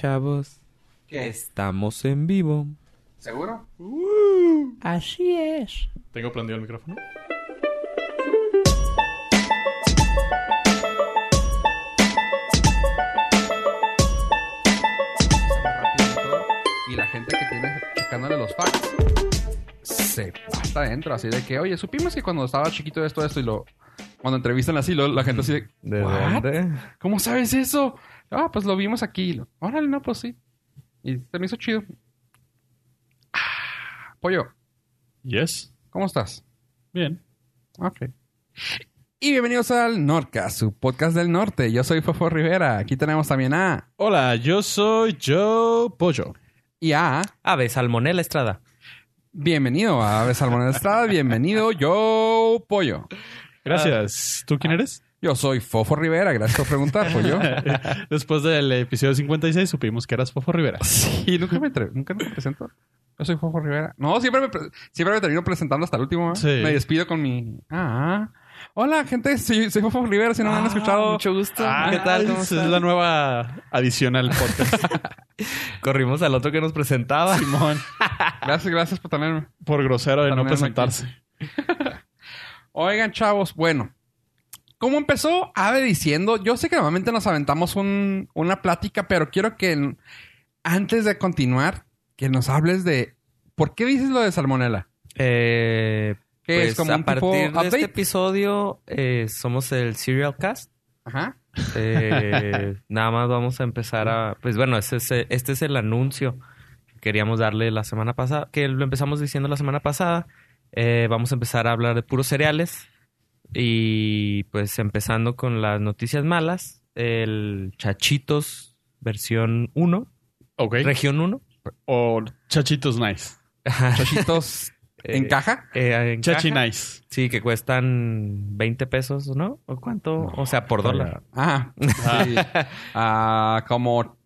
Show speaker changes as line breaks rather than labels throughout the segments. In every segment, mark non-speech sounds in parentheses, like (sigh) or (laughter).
Pichavos.
¿Qué?
Estamos en vivo.
¿Seguro?
Así es.
Tengo prendido el micrófono.
Se va rápido y todo. Y la gente que tiene checándole los facts se va hasta adentro, así de que, oye, supimos que cuando estaba chiquito esto, esto y lo. Cuando entrevistan así, lo- la gente así de,
¿De
"¿What?
dónde?
¿Cómo sabes eso? Ah, pues lo vimos aquí. Y lo- Órale, no, pues sí. Y se me hizo chido. Ah, Pollo,
Yes.
¿cómo estás?
Bien.
Ok. Y bienvenidos al Nordcast, su podcast del norte. Yo soy Fofo Rivera. Aquí tenemos también a.
Hola, yo soy Joe Pollo.
Y a.
Ave Salmonella Estrada.
Bienvenido a Ave Salmonella Estrada, bienvenido yo, Pollo.
Gracias. ¿Tú quién eres?
Yo soy Fofo Rivera, gracias por preguntar, Pollo.
(laughs) Después del episodio 56 supimos que eras Fofo Rivera.
Y nunca me, entre- nunca me presento. Yo soy Fofo Rivera. No, siempre me, pre- siempre me termino presentando hasta el último. ¿eh?
Sí.
Me despido con mi... Ah. Hola, gente, soy, soy Fofo Rivera, si Ah, no me han escuchado...
Mucho gusto.
Ah,
¿Qué tal? ¿Cómo
Es
estás?
la nueva adición al podcast,
Corrimos al otro que nos presentaba.
Simón.
Gracias, gracias por tenerme.
Por grosero de no
También aquí.
presentarse.
Oigan, chavos, bueno. ¿Cómo empezó Ave diciendo? Yo sé que normalmente nos aventamos un- una plática, pero quiero que n- antes de continuar, que nos hables de... ¿Por qué dices lo de salmonela?
Eh,
Que
pues,
es como
a
un tipo
partir de
update.
este episodio eh, somos el Serial Cast.
Ajá.
Eh, (laughs) nada más vamos a empezar a... Pues bueno, ese es el- este es el anuncio que queríamos darle la semana pasada, que lo empezamos diciendo la semana pasada. Eh, vamos a empezar a hablar de puros cereales y pues empezando con las noticias malas, el Chachitos versión 1,
Ok.
región 1.
O Chachitos Nice.
Chachitos
(laughs)
en
Eh,
caja.
eh, en
Chachi
caja.
Nice.
Sí, que cuestan 20 pesos, ¿no? ¿O cuánto? o sea, por dólar.
Ajá.
(laughs)
Sí. Ah, como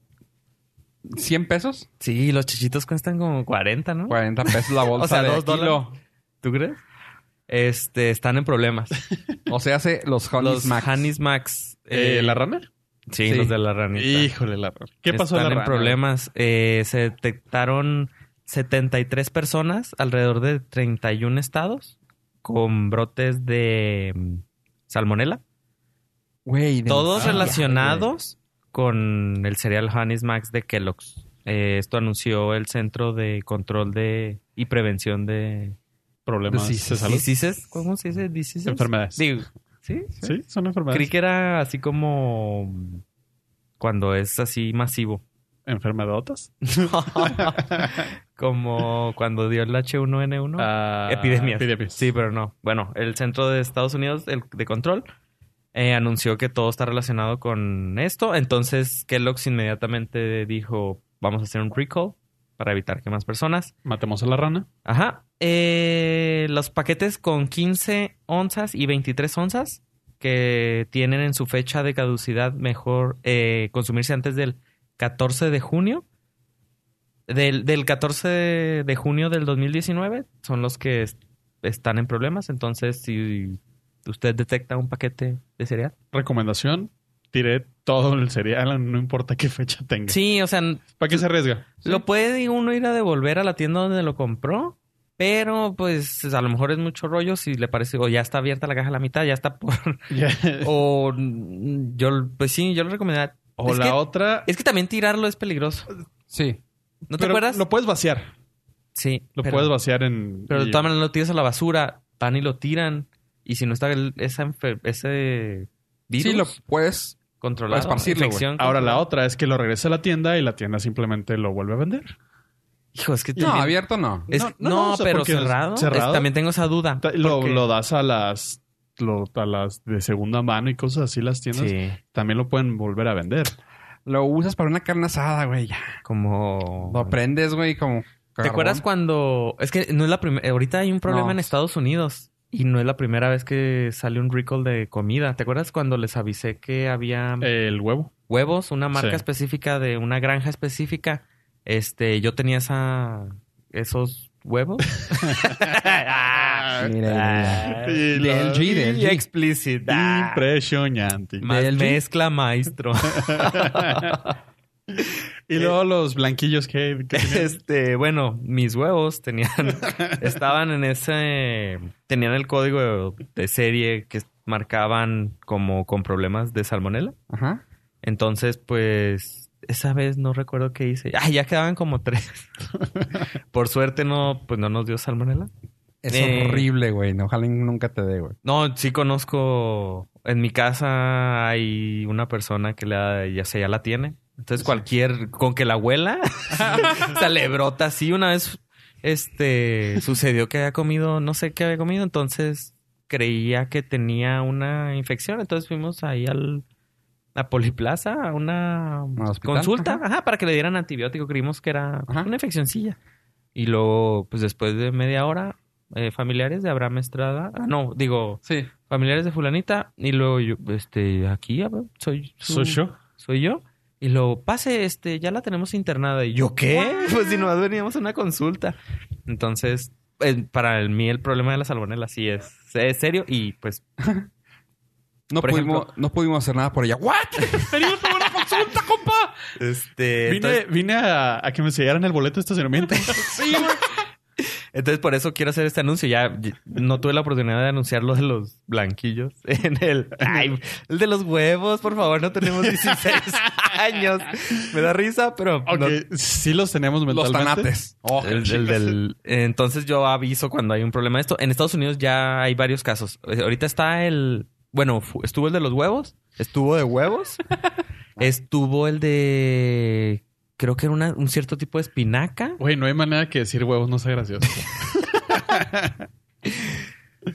100 pesos.
Sí, los chichitos cuestan como 40, ¿no?
40 pesos la
(laughs)
bolsa
O sea,
de
dos
kilo.
dólares. ¿Tú crees? Este, están en problemas.
O sea, hace los Honey
los
Smacks.
Hanis Max. eh,
Eh, ¿La rana?
sí,
sí.
los de la ranita.
Híjole, la rana. ¿Qué pasó de
Están
la
en
rana?
problemas. Eh, se detectaron 73 personas alrededor de 31 estados con brotes de mm, salmonela.
Güey,
Todos
demasiado,
relacionados con el cereal Honey's Max de Kellogg's. Eh, esto anunció el Centro de Control de y Prevención de
Problemas
Diseases.
de salud.
Diseases. ¿Cómo se dice? Diseases.
Enfermedades.
Digo, ¿sí?
Sí, son
Creí
enfermedades.
que era así como mm, cuando es así
(laughs)
masivo.
¿Enfermedotas?
como cuando dio el H1N1.
Ah,
Epidemias.
Epidemias.
Sí, pero no. Bueno, el centro de Estados Unidos el de control eh, anunció que todo está relacionado con esto. Entonces, Kellogg's inmediatamente dijo, vamos a hacer un recall para evitar que más personas.
Matemos a la rana.
Ajá. Eh, los paquetes con 15 onzas y 23 onzas que tienen en su fecha de caducidad mejor eh, consumirse antes del 14 de junio. Del, del 14 de de junio del 2019 son los que est- están en problemas. Entonces, si usted detecta un paquete de cereal.
recomendación, tiré todo el cereal, (laughs) no importa qué fecha tenga.
Sí, o sea, n-
¿Para qué se arriesga?
Lo puede uno ir a devolver a la tienda donde lo compró, pero pues a lo mejor es mucho rollo si le parece, o ya está abierta la caja a la mitad, ya está
(laughs)
por...
Ya.
o mm, yo, pues sí, yo le recomendaría...
O
es,
la
que,
otra.
es que también tirarlo es peligroso.
Sí.
¿No te
pero
acuerdas?
Lo puedes vaciar.
sí.
Lo
pero,
puedes vaciar en.
Pero de
y-
todas maneras lo tiras a la basura, van y lo tiran, y si no está el- esa enfer- ese virus
Sí, lo puedes...
controlado,
esparcirlo, güey.
infección
Ahora la
controlada.
otra es que lo regresa a la tienda y la tienda simplemente lo vuelve a vender.
Hijo, es que
No,
también-
abierto no.
es-
No,
no,
no, o sea,
pero
porque es
cerrado. es-
cerrado.
también tengo esa duda.
Ta- Lo,
porque-
lo das a las. lo- a las de segunda mano y cosas así, las tiendas
Sí,
también lo pueden volver a vender.
Lo usas para una carne asada, güey, ya.
como...
Lo prendes, güey, como...
¿Te acuerdas cuando.? Es que no es la primera. Ahorita hay un problema
No.
en Estados Unidos y no es la primera vez que sale un recall de comida. ¿Te acuerdas cuando les avisé que había
El huevo.
huevos, una marca
Eh, sí.
específica de una granja específica? Este, yo tenía esa. esos huevos. Ah,
Mira, mira.
Ah, Y
Del
la-
G, del G.
Explícita.
Impresionante.
Más mezcla maestro.
Y luego los blanquillos que,
(laughs)
que tenían-
Este, bueno, mis huevos tenían, estaban en ese, tenían el código de serie que marcaban como con problemas de salmonela.
Ajá.
Entonces, pues, esa vez no recuerdo qué hice. Ah, ya quedaban como tres. Por suerte no, pues no nos dio salmonela.
Es
Eh.
horrible, güey. No, Ojalá nunca te dé, güey.
No, sí conozco. En mi casa hay una persona que la, ya sé, ya la tiene. Entonces cualquier, con que la abuela, (laughs) se le brota así. Una vez, este, sucedió que había comido, no sé qué había comido, entonces creía que tenía una infección. Entonces fuimos ahí al, a Poliplaza, a una
hospital?
consulta,
Ajá.
ajá. para que le dieran antibiótico. Creímos que era pues,
Ajá.
una infeccioncilla. Y luego, pues después de media hora, eh, familiares de Abraham Estrada, ah, no, digo,
Sí.
familiares de fulanita y luego yo, este, aquí a ver, soy su-
¿Soy yo?
soy yo y luego pase, este, ya la tenemos internada y yo qué, pues si nomás veníamos a una consulta, entonces eh, para el- mí el problema de la salmonela sí es, es serio y pues
No
Por
pudimos,
ejemplo-
no pudimos hacer nada por ella.
(laughs)
¿What? Venimos a una consulta, compa.
este
Vine,
entonces,
vine a, a que me sellaran el boleto de (laughs) estacionamiento.
Sí, güey.
entonces por eso quiero hacer este anuncio ya y- no tuve la oportunidad de anunciar lo de los blanquillos (laughs) en el ay, el de los huevos por favor no tenemos 16 años me da risa pero no-
Aunque sí los tenemos
Los
mentalmente.
tanates. Oh,
El- el del- entonces yo aviso cuando hay un problema de esto. En Estados Unidos ya hay varios casos. Eh, Ahorita está el... Bueno, fu- estuvo el de los huevos. Estuvo de huevos. (laughs) estuvo el de... Creo que era una- un cierto tipo de espinaca.
Güey, no hay manera que decir huevos no sea (laughs) gracioso.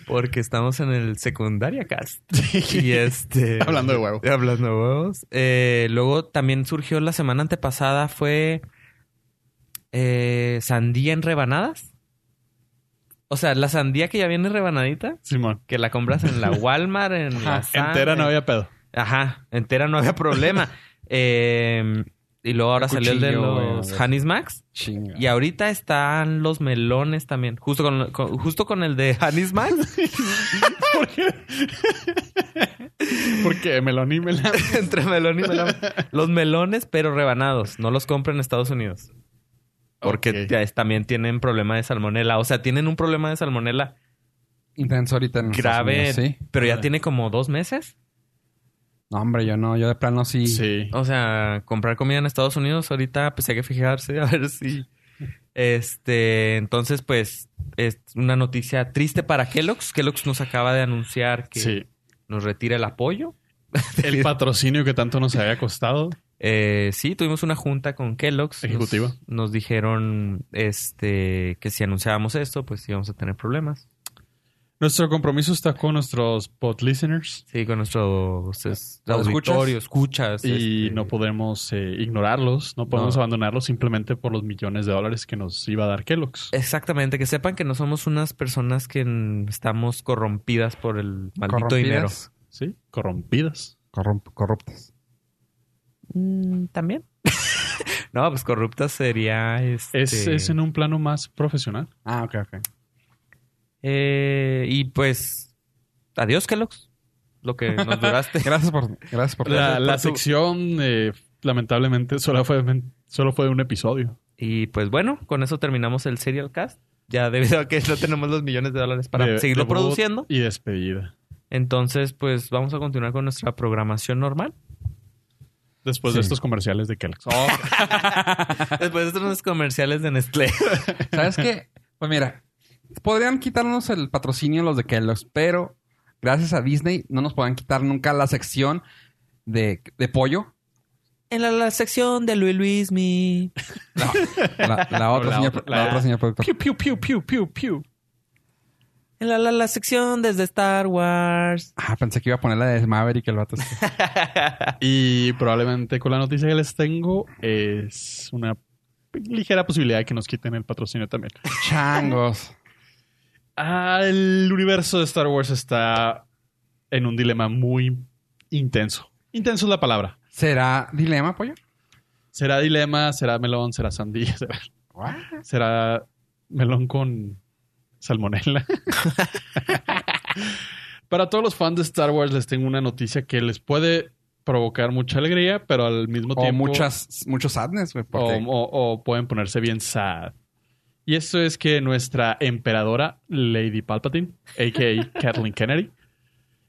Porque estamos en el secundaria cast.
Sí. (laughs)
Y este...
Hablando de huevos.
Hablando de huevos. Eh, luego también surgió la semana antepasada fue eh, sandía en rebanadas. O sea, la sandía que ya viene rebanadita,
Simón.
que la compras en
(laughs)
la Walmart, en la Sam,
Entera
en-
no había pedo.
Ajá, entera no había
(laughs)
problema. Eh, y luego ahora salió el de
Cuchillo, güey, a
los
ver.
Hanis Max.
Chinga.
Y ahorita están los melones también. Justo con, con- justo con el de Hanis Max.
¿Por qué? Porque melón y melón.
(laughs) Entre melón y melón.
(laughs)
Los melones, pero rebanados. No los compran en Estados Unidos. Porque
Ok.
ya es- también tienen problema de salmonela. O sea, tienen un problema de salmonela
Intenso ahorita en Estados
grave.
Unidos, sí. Ah.
Pero ya
Órale.
tiene como dos meses.
No, hombre, yo no. Yo de plano sí.
Sí.
O sea, comprar comida en Estados Unidos ahorita pues hay que fijarse (laughs) a ver si este, entonces pues es una noticia triste para Kellogg's. Kellogg's nos acaba de anunciar que
Sí.
nos retira el apoyo.
El patrocinio que tanto nos había costado.
Eh, sí, tuvimos una junta con Kellogg's. Nos-
Ejecutiva.
Nos, dijeron este que si anunciábamos esto, pues íbamos a tener problemas.
Nuestro compromiso está con nuestros pod listeners
Sí, con nuestros es,
¿Lo escuchas?
auditorio, escuchas.
y
este,
no podemos eh, ignorarlos, no podemos
No.
abandonarlos simplemente por los millones de dólares que nos iba a dar Kellogg's.
Exactamente, que sepan que no somos unas personas que mm, estamos corrompidas por el maldito dinero.
Corrompidas.
¿Sí? Corrompidas.
Corromp- corruptas.
Mm, También. (laughs) no, pues corrupta sería este.
Es, es en un plano más profesional.
(laughs)
Ah, ok, ok.
Eh, y pues. Adiós, Kellogg's. Lo que nos
(laughs)
duraste.
Gracias por, gracias por
La, la
por tu-
sección, eh, lamentablemente, solo fue, solo fue un episodio.
y pues bueno, con eso terminamos el serial cast. Ya debido a que no tenemos los millones de dólares para
De-
seguirlo
debut
produciendo.
Y despedida.
Entonces, pues vamos a continuar con nuestra programación
(laughs)
normal.
Después de
Sí.
estos comerciales de Kellogg's.
Después de unos comerciales de Nestlé.
¿Sabes qué? Pues mira, podrían quitarnos el patrocinio los de Kellogg's, pero gracias a Disney no nos podrán quitar nunca la sección de, de pollo.
En la, la sección de Luis Luis Mi.
No, la,
(laughs)
la otra,
La
señor,
otra,
la
la-
otra señor productor.
Piu, piu, piu, piu, piu, piu.
En la, la, la sección desde Star Wars.
Ah, pensé que iba a poner la de Maverick el
(laughs)
vato. este.
Oh.
Y probablemente con la noticia que les tengo es una ligera posibilidad de que nos quiten el patrocinio también.
Changos.
Ah, el universo de Star Wars está en un dilema muy intenso. Intenso es la palabra.
¿Será dilema, pollo?
Será dilema, será melón, será sandía, (laughs) será,
What?
será melón con (laughs) salmonela. Para todos los fans de Star Wars les tengo una noticia que les puede provocar mucha alegría, pero al mismo
O
tiempo.
muchas, muchos sadness, güey.
O,
porque-
o- o pueden ponerse bien sad. Y esto es que nuestra emperadora, Lady Palpatine, (laughs) a.k.a. Kathleen Kennedy,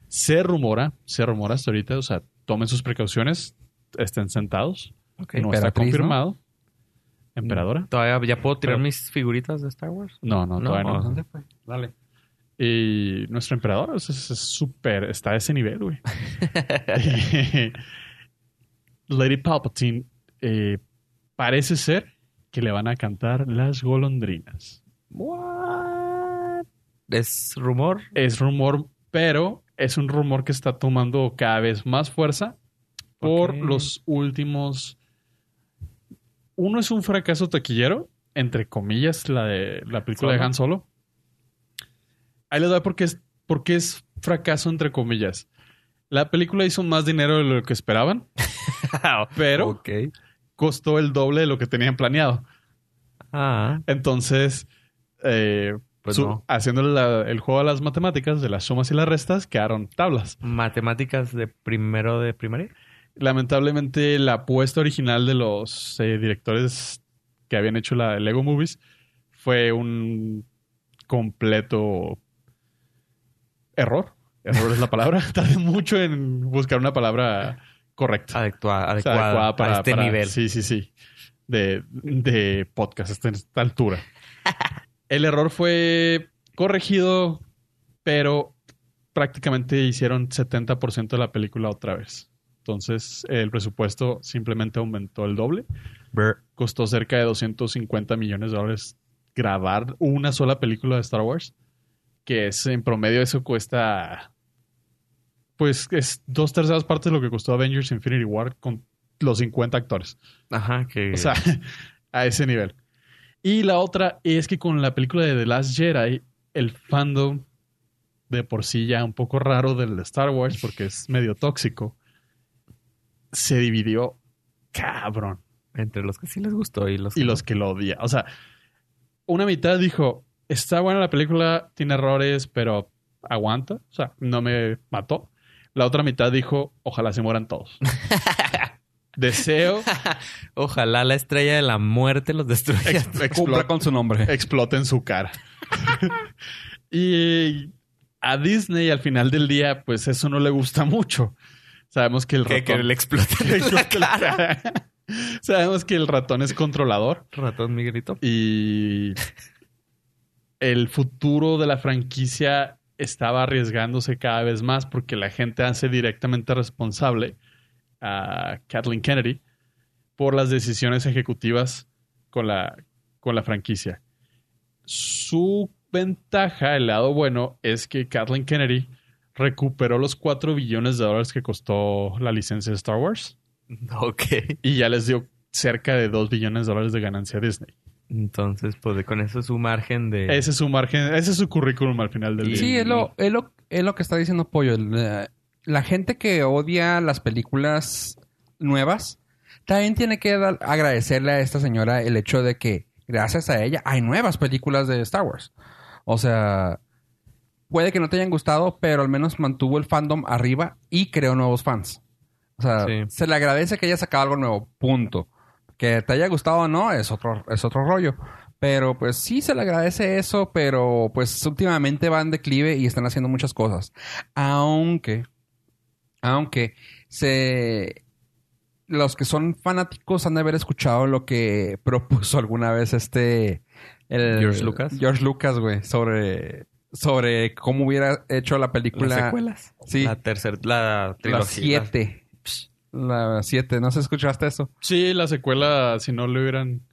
se rumora, se rumora hasta ahorita, o sea, tomen sus precauciones, estén sentados,
Ok.
no está
emperatriz, ¿no?
confirmado. ¿Emperadora?
Todavía ya puedo tirar
Pero-
mis figuritas de Star Wars.
No, no, todavía no.
¿dónde fue?
Dale. Y nuestro emperador o sea, es es súper, está a ese nivel, güey. Lady Palpatine eh, parece ser que le van a cantar las golondrinas.
What? Es rumor.
Es rumor, pero es un rumor que está tomando cada vez más fuerza por
Ok.
los últimos. Uno es un fracaso taquillero, entre comillas, la de la película de
Solo.
Han Solo. Ahí les doy porque es, porque es fracaso, entre comillas. La película hizo más dinero de lo que esperaban, (laughs) pero
ok.
costó el doble de lo que tenían planeado.
Ah,
Entonces, eh,
pues
su-
no.
haciendo la- el juego a las matemáticas, de las sumas y las restas, quedaron tablas.
Matemáticas de primero de primaria.
Lamentablemente, la apuesta original de los eh, directores que habían hecho la Lego Movies fue un completo error. Error es la palabra. (laughs) Tardé mucho en buscar una palabra correcta.
Adecua- Adecuada,
O sea, adecuada
para, este
para-
nivel.
Sí, sí, sí. De, de podcast a esta,
(laughs)
esta altura. El error fue corregido, pero prácticamente hicieron 70% de la película otra vez. Entonces, el presupuesto simplemente aumentó el doble.
Brr.
Costó cerca de 250 millones de dólares grabar una sola película de Star Wars, que es en promedio eso cuesta, pues es dos terceras partes de lo que costó Avengers Infinity War con los 50 actores.
Ajá, que.
O sea, (laughs) a ese nivel. Y la otra es que con la película de The Last Jedi, el fandom de por sí ya un poco raro del de Star Wars, porque es medio tóxico, se dividió cabrón
entre los que sí les gustó y los
y
que
los que lo odian. O sea, una mitad dijo, está buena la película, tiene errores, pero aguanta. O sea, no me mató. La otra mitad dijo, ojalá se mueran todos. Deseo
no. Ojalá la estrella de la muerte los destruya.
ex-
Cumpla
explota-
con su nombre.
explota en su cara. (laughs) y a Disney al final del día, pues eso no le gusta mucho. Sabemos que
(laughs)
el
que,
ratón...
que
(laughs)
le explote (laughs)
que
en la
explota la
cara.
cara. Sabemos que el ratón es controlador.
Ratón Miguelito.
y el futuro de la franquicia estaba arriesgándose cada vez más porque la gente hace directamente responsable a Kathleen Kennedy por las decisiones ejecutivas con la, con la franquicia. Su ventaja, el lado bueno, es que Kathleen Kennedy recuperó los 4 billones de dólares que costó la licencia de Star Wars
Ok.
y ya les dio cerca de 2 billones de dólares de ganancia a Disney.
Entonces, pues con eso es su margen de.
Ese es su margen, ese es su currículum al final del
Y-
día.
Eh, Sí, es lo, es lo, es lo que está diciendo Pollo. El, eh, La gente que odia las películas nuevas también tiene que dar- agradecerle a esta señora el hecho de que gracias a ella hay nuevas películas de Star Wars. O sea, puede que no te hayan gustado, pero al menos mantuvo el fandom arriba y creó nuevos fans. O sea,
Sí.
se le agradece que haya sacado algo nuevo, punto. Que te haya gustado o no es otro, es otro rollo. Pero pues sí se le agradece eso, pero pues últimamente van declive y están haciendo muchas cosas. Aunque, aunque se... Los que son fanáticos han de haber escuchado lo que (laughs) propuso alguna vez este... el-
George Lucas.
George Lucas, güey, sobre, sobre cómo hubiera hecho la película...
las secuelas.
Sí.
La tercera. La
La
trilogía.
7. La 7. ¿No se escuchaste eso?
Sí, la secuela, si no le hubieran,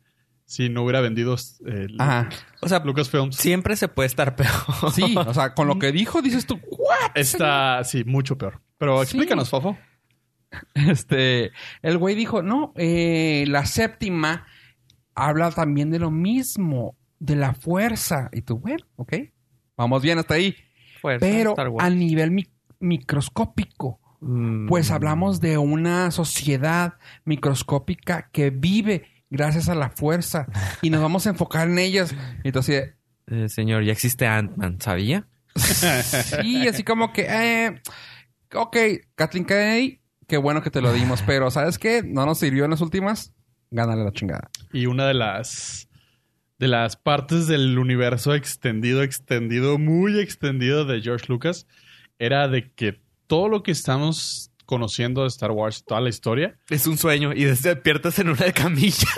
si no hubiera vendido eh,
Ajá.
O sea,
Lucasfilms,
siempre se puede estar peor. (laughs)
Sí, o sea, con lo que dijo dices tú, ¿what?
está, sí, mucho peor. Pero
Sí.
explícanos, Fofo.
(laughs) Este, el güey dijo, no, eh, la séptima habla también de lo mismo, de la fuerza. Y tú, bueno, ok, vamos bien hasta ahí.
Fuerza,
Pero
Star Wars.
a nivel mi- microscópico.
Mm.
Pues hablamos de una sociedad microscópica que vive gracias a la fuerza y nos vamos a enfocar en ellas. Y tú así de,
Eh, señor, ya existe Ant-Man, ¿sabía?
Sí, así como que, eh, ok, Kathleen Kennedy, Qué bueno que te lo dimos, pero ¿sabes qué? No nos sirvió en las últimas. Gánale la chingada.
Y una de las de las partes del universo extendido, extendido, muy extendido de George Lucas era de que todo lo que estamos conociendo de Star Wars, toda la historia, (laughs)
Es un sueño y despiertas en una camilla.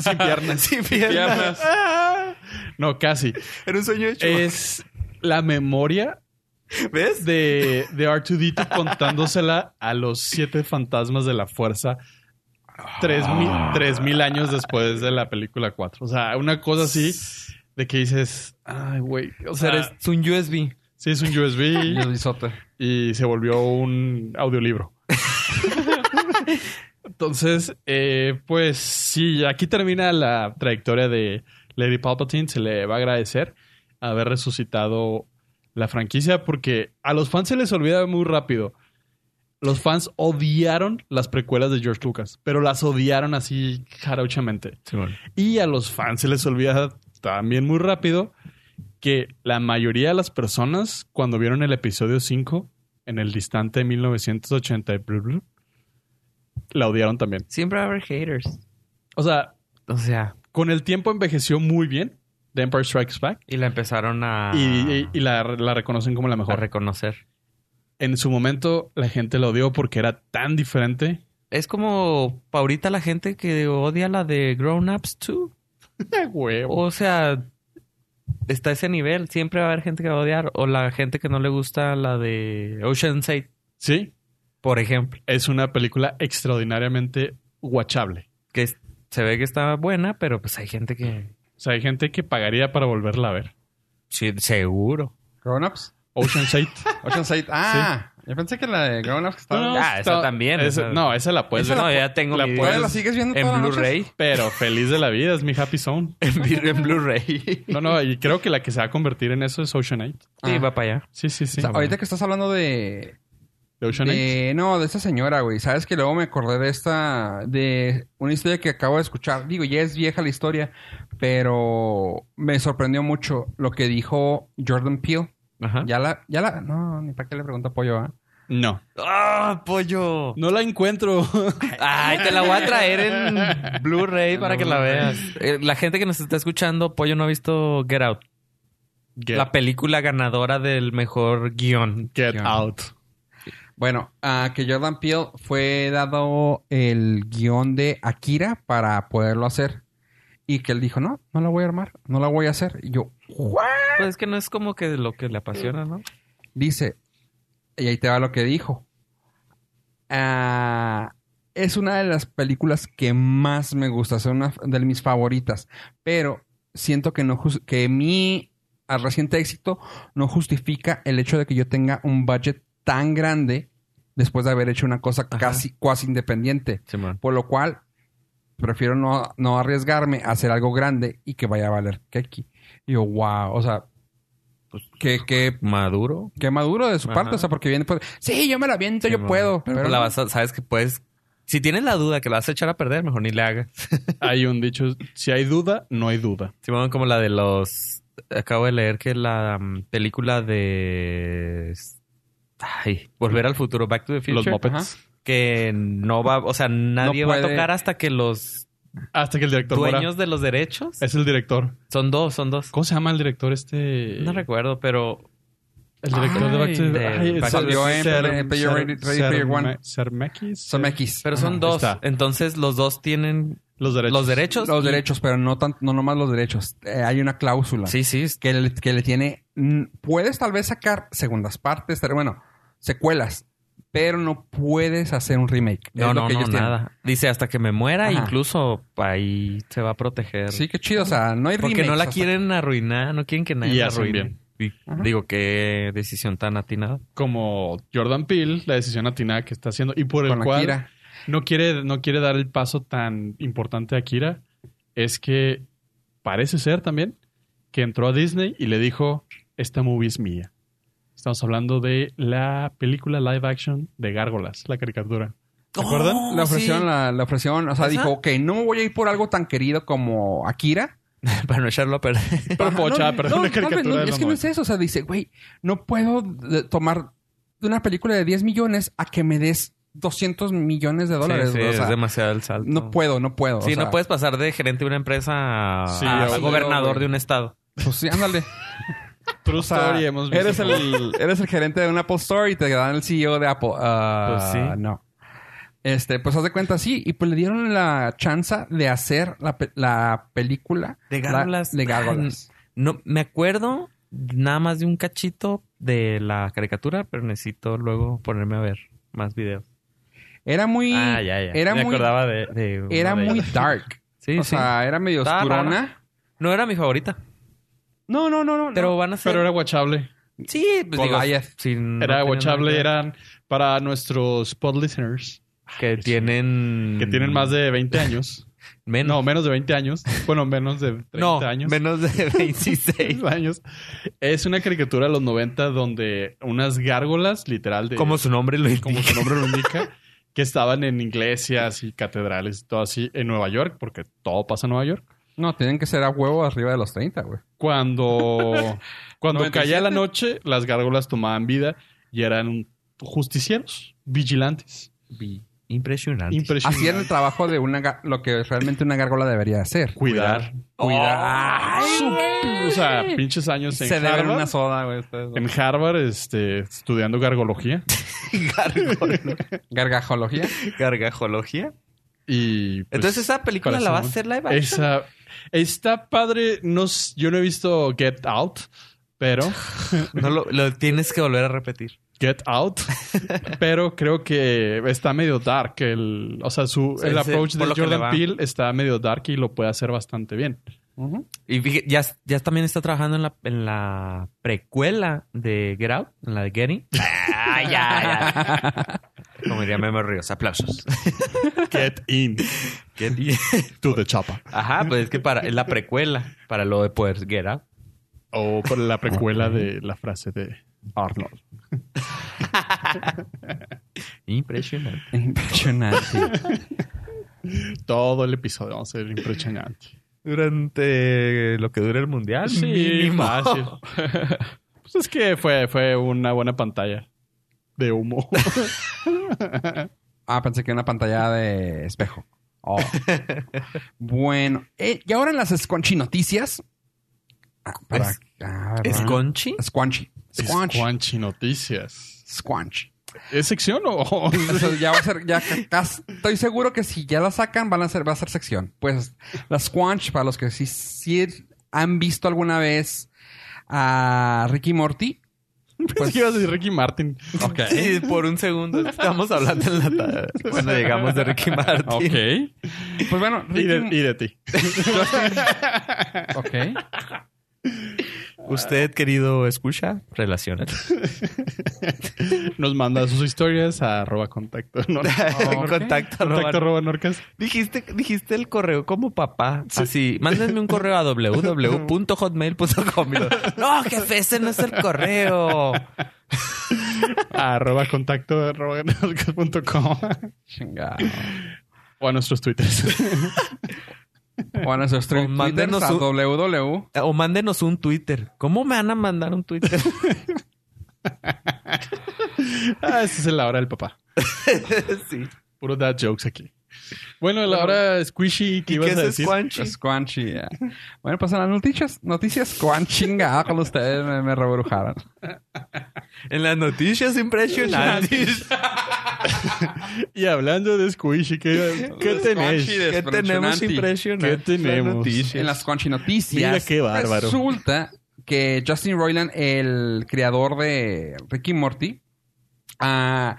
sin
(laughs)
piernas,
Sin piernas.
piernas. no, casi,
Era un sueño hecho.
es la memoria
¿Ves?
de, de R2D2 contándosela a los siete fantasmas de la fuerza tres mil, tres mil años después de la película 4. O sea, una cosa así de que dices, ay, güey. O
O sea,
sea,
eres- es un USB.
sí es un
Y
USB
el bisote.
y se volvió un audiolibro. Entonces, eh, pues sí, aquí termina la trayectoria de Lady Palpatine. Se le va a agradecer haber resucitado la franquicia porque a los fans se les olvida muy rápido. Los fans odiaron las precuelas de George Lucas, pero las odiaron así jarochamente. Y a los fans se les olvida también muy rápido que la mayoría de las personas, cuando vieron el episodio 5, en el distante 1980, y blu, blu, la odiaron también.
Siempre va a haber haters.
O sea,
O sea,
con el tiempo envejeció muy bien The Empire Strikes Back
y la empezaron a,
y, y- y la, la reconocen como Ah. la
a
mejor.
reconocer.
En su momento, la gente la odió porque era tan diferente.
Es como pa' ahorita la gente que odia la de Grown Ups 2.
¡Qué huevo!
O sea, está ese nivel. Siempre va a haber gente que va a odiar. O la gente que no le gusta la de Ocean's 8,
Sí,
por ejemplo.
es una película extraordinariamente watchable.
Que es- se ve que está buena, pero pues hay gente que...
O sea, hay gente que pagaría para volverla a ver.
Sí, seguro.
Grown Ups.
Ocean 8. (laughs)
Ocean Sight. Ah, yo pensé que la de Grown Ups que estaba.
no, Ah, esa también,
esa-
esa-
no, esa la puedes
Pues
ver.
no, ya tengo
la
mi
puedes-
Todavía
video
la sigues viendo todas
Pues, en
las noches?
Blu-ray.
Pero feliz de la vida, es mi happy zone.
(laughs) En, vi- en Blu-ray.
No, no, y creo que la que se va a convertir en eso es Ocean 8.
Sí,
Ah.
va para allá.
Sí, sí,
O
sí.
sea, ahorita que estás hablando de,
De Ocean 8.
de- no, de esta señora, güey. Sabes que luego me acordé de esta, de una historia que acabo de escuchar. Digo, ya es vieja la historia, pero me sorprendió mucho lo que dijo Jordan Peele.
Ajá.
Ya la, ya la, no, ni para qué le pregunto apoyo, ¿ah?
No.
¡Ah, pollo!
No la encuentro.
Ay, te la voy a traer en Blu-ray para que la veas. Eh, La gente que nos está escuchando, Pollo no ha visto Get Out,
(laughs) Get,
la película ganadora del mejor guión.
Get
Ya.
Out.
Bueno, ah, que Jordan Peele fue dado el guión de Akira para poderlo hacer. Y que él dijo, no, no la voy a armar, no la voy a hacer. Y yo, ¿what?
Pues es que no es como que lo que le apasiona, ¿no?
Dice, y ahí te va lo que dijo. Ah, es una de las películas que más me gusta, es una de mis favoritas, pero siento que no jus- que mi ah, reciente éxito no justifica el hecho de que yo tenga un budget tan grande después de haber hecho una cosa
Ajá.
casi cuasi independiente,
Simón.
por lo cual prefiero no, no arriesgarme a hacer algo grande y que vaya a valer que aquí. Y yo, wow, o sea, que, que
Maduro.
Qué maduro de su
Ajá.
parte, o sea, porque viene pues, sí, yo me la aviento, yo
Simón.
puedo. Pero,
Pero la vas a- sabes que puedes. Si tienes la duda que la vas a echar a perder, mejor ni le hagas.
Hay un dicho, si hay duda, no hay duda.
Simón, como la de los. Acabo de leer que la mm, película de. Ay, Volver al futuro, Back to the
Los
Future.
Muppets.
que no va, o sea, nadie va a
puede.
tocar hasta que los
Hasta que el director muera.
dueños de los derechos.
Es el director.
Son dos, son dos.
¿Cómo se llama el director este?
No recuerdo, pero
El director de Back to
Ay,
the
de-
Ay,
Back to
the Future.
Ser- Ser-
Salió en Player
Ser-
Ready- Ready Player
Serme-
One.
Sermekis.
son X.
pero son
Ahí
dos.
está.
Entonces los dos tienen
Los derechos.
los derechos.
Los
y-
derechos, pero no tan, no nomás los derechos. Eh, hay una cláusula
Sí, sí. es-
que, le, que le tiene. mm, Puedes tal vez sacar segundas partes, pero bueno, secuelas, pero no puedes hacer un remake. Es
No,
lo
no,
que
no,
ellos tienen.
nada. Dice hasta que me muera,
Ajá.
incluso ahí se va a proteger.
Sí, qué chido, o sea, no hay remake.
Porque no la quieren arruinar, no quieren que nadie
Y
la
hacen
arruine. Y
Ajá.
digo, qué decisión tan atinada.
Como Jordan Peele, la decisión atinada que está haciendo y por el
Con
cual
Akira.
no quiere, no quiere dar el paso tan importante a Akira es que parece ser también que entró a Disney y le dijo, esta movie es mía. Estamos hablando de la película live action de Gárgolas, la
(laughs)
caricatura. ¿Te acuerdan?
Oh,
Le ofrecieron,
sí.
la, le ofrecieron, o sea,
Ajá.
dijo, ok, no voy a ir por algo tan querido como Akira.
(laughs) Para no echarlo a perder.
Pero
Ajá,
(laughs)
pocha,
no,
pero
no, tal
una
vez
caricatura
no,
de
es
los
que no es
noventas.
eso. O sea, dice, güey, no puedo de- tomar una película de 10 millones a que me des 200 millones de dólares.
Sí, sí,
güey. O sea,
es demasiado el salto.
no puedo, no puedo. o
Sí,
sea,
no puedes pasar de gerente de una empresa a,
Sí,
a
obvio,
gobernador
güey.
de un estado.
Pues sí, ándale.
True
(laughs)
O sea,
story, hemos visto.
Eres el, eres el gerente de un Apple Store y te dan el CEO de Apple. Ah,
Pues sí.
No. Este, pues haz de cuenta, sí. Y pues le dieron la chance de hacer la, pe- la película.
De
la-
Gárgolas. (laughs)
de Gárgolas.
No, me acuerdo nada más de un cachito de la caricatura, pero necesito luego ponerme a ver más videos.
Era muy.
ah, ya, ya.
Era
me
muy,
acordaba de, de uno
era
de
muy
ellos.
dark.
Sí,
o
sí.
sea, era medio
Estaba rara.
oscurona.
no era mi favorita,
No, no, no, no.
pero van a ser...
Pero era guachable.
Sí, pues
Con
digo,
Goliath.
si no
Era
tienen
guachable,
nada
eran para nuestros pod listeners
Que tienen...
que tienen más de 20 años.
Menos.
No, menos de 20 años. Bueno, menos de 30
No,
años.
menos
(laughs)
de 26.
30 años. Es una caricatura de los 90 donde unas gárgolas, literal, de,
Como su nombre lo indica.
(laughs) como su nombre lo indica, que estaban en iglesias y catedrales y todo así en Nueva York, porque todo pasa en Nueva York.
No, tienen que ser a huevo arriba de los 30, güey.
Cuando, cuando
97.
caía la noche, las gárgolas tomaban vida y eran justicieros, vigilantes.
Impresionante.
Impresionante.
Hacían el trabajo de una ga- lo que realmente una gárgola debería hacer.
Cuidar.
Cuidado.
Su- O sea, pinches años en
Se deben
Harvard.
una soda, güey. ustedes, güey.
En Harvard, este, estudiando gargología.
Gargajología.
Gargajología.
Y. pues,
Entonces, ¿esa película
para
la va a
eso-
hacer live action?
Esa. Está padre. No, s- yo no he visto Get Out,
(laughs)
pero.
No lo, lo tienes que volver a repetir.
Get Out. pero creo que está medio dark. El, o sea, su,
Sí,
el
sí,
approach
por
de
lo que le
Jordan
va.
Peele está medio dark y lo puede hacer bastante bien.
Ujú.
Y fíjate, ya, ya también está trabajando en la, en la precuela de Get Out, en la de Getting. Ah, ya, ya. Como diría Memo Ríos, aplausos.
Get
(laughs)
In to the Chapa.
Ajá, pues es que para, es la precuela para lo de poder Get Out.
O por la precuela de la frase de Arnold.
Impresionante.
Impresionante.
Todo el episodio va a ser impresionante.
Durante lo que dura el mundial.
Sí, fácil. (laughs) pues es que fue, fue una buena pantalla de
(laughs)
humo.
ah, pensé que era una pantalla de espejo. (laughs) Oh. bueno, eh, y ahora en las Squanchy noticias. Ah, para-
Es-
ah, ¿verdad?
¿Es Conchi?
Squanchy. Squanchy.
Squanchy Noticias.
Squanchy.
¿Es sección o...?
(laughs)
O sea, ya va a ser, ya ca- cas- estoy seguro que si ya la sacan, van a ser, va a ser sección. Pues la Squanch, para los que sí, sí han visto alguna vez a Ricky Morty.
Pensé que ibas a decir Ricky Martin.
(laughs)
Ok.
Sí, por un segundo. Estamos hablando en la ta- cuando llegamos de Ricky Martin.
Ok. Y
Pues bueno, Ricky,
de, y de ti.
Ok.
Usted, querido, escucha, (laughs) relaciona.
Nos manda sus historias a arroba contacto. (laughs) ¿no?
Ok.
Contacto, (laughs) arroba-
contacto arroba norcas.
Dijiste, dijiste el correo como papá. Así, mándenme un correo a www.hotmail.com. y lo- (laughs) No, jefe, ese no es el correo.
arroba contacto arroba norcas punto com.
Chingado.
O a nuestros twitters.
(laughs)
O a nuestros
O
twitters
mándenos
a
un-
www.
O mándenos un Twitter. ¿Cómo me van a mandar un (laughs) Twitter?
ah, esa es la hora del papá.
sí.
Puro dad jokes aquí. Bueno, la hora squishy que
¿Y
ibas
qué
a
es
decir.
Squanchy?
Squanchy. ya. Bueno, pues en las noticias, noticias Squan chingada con ustedes me, me rebrujaron.
En las noticias impresionantes.
Y hablando de
(laughs)
squishy, ¿qué, qué tenés?
¿Qué tenemos impresionante?
¿Qué tenemos?
En las Squanchy noticias.
Mira qué bárbaro.
Resulta que Justin Roiland, el creador de Ricky y Morty, ah,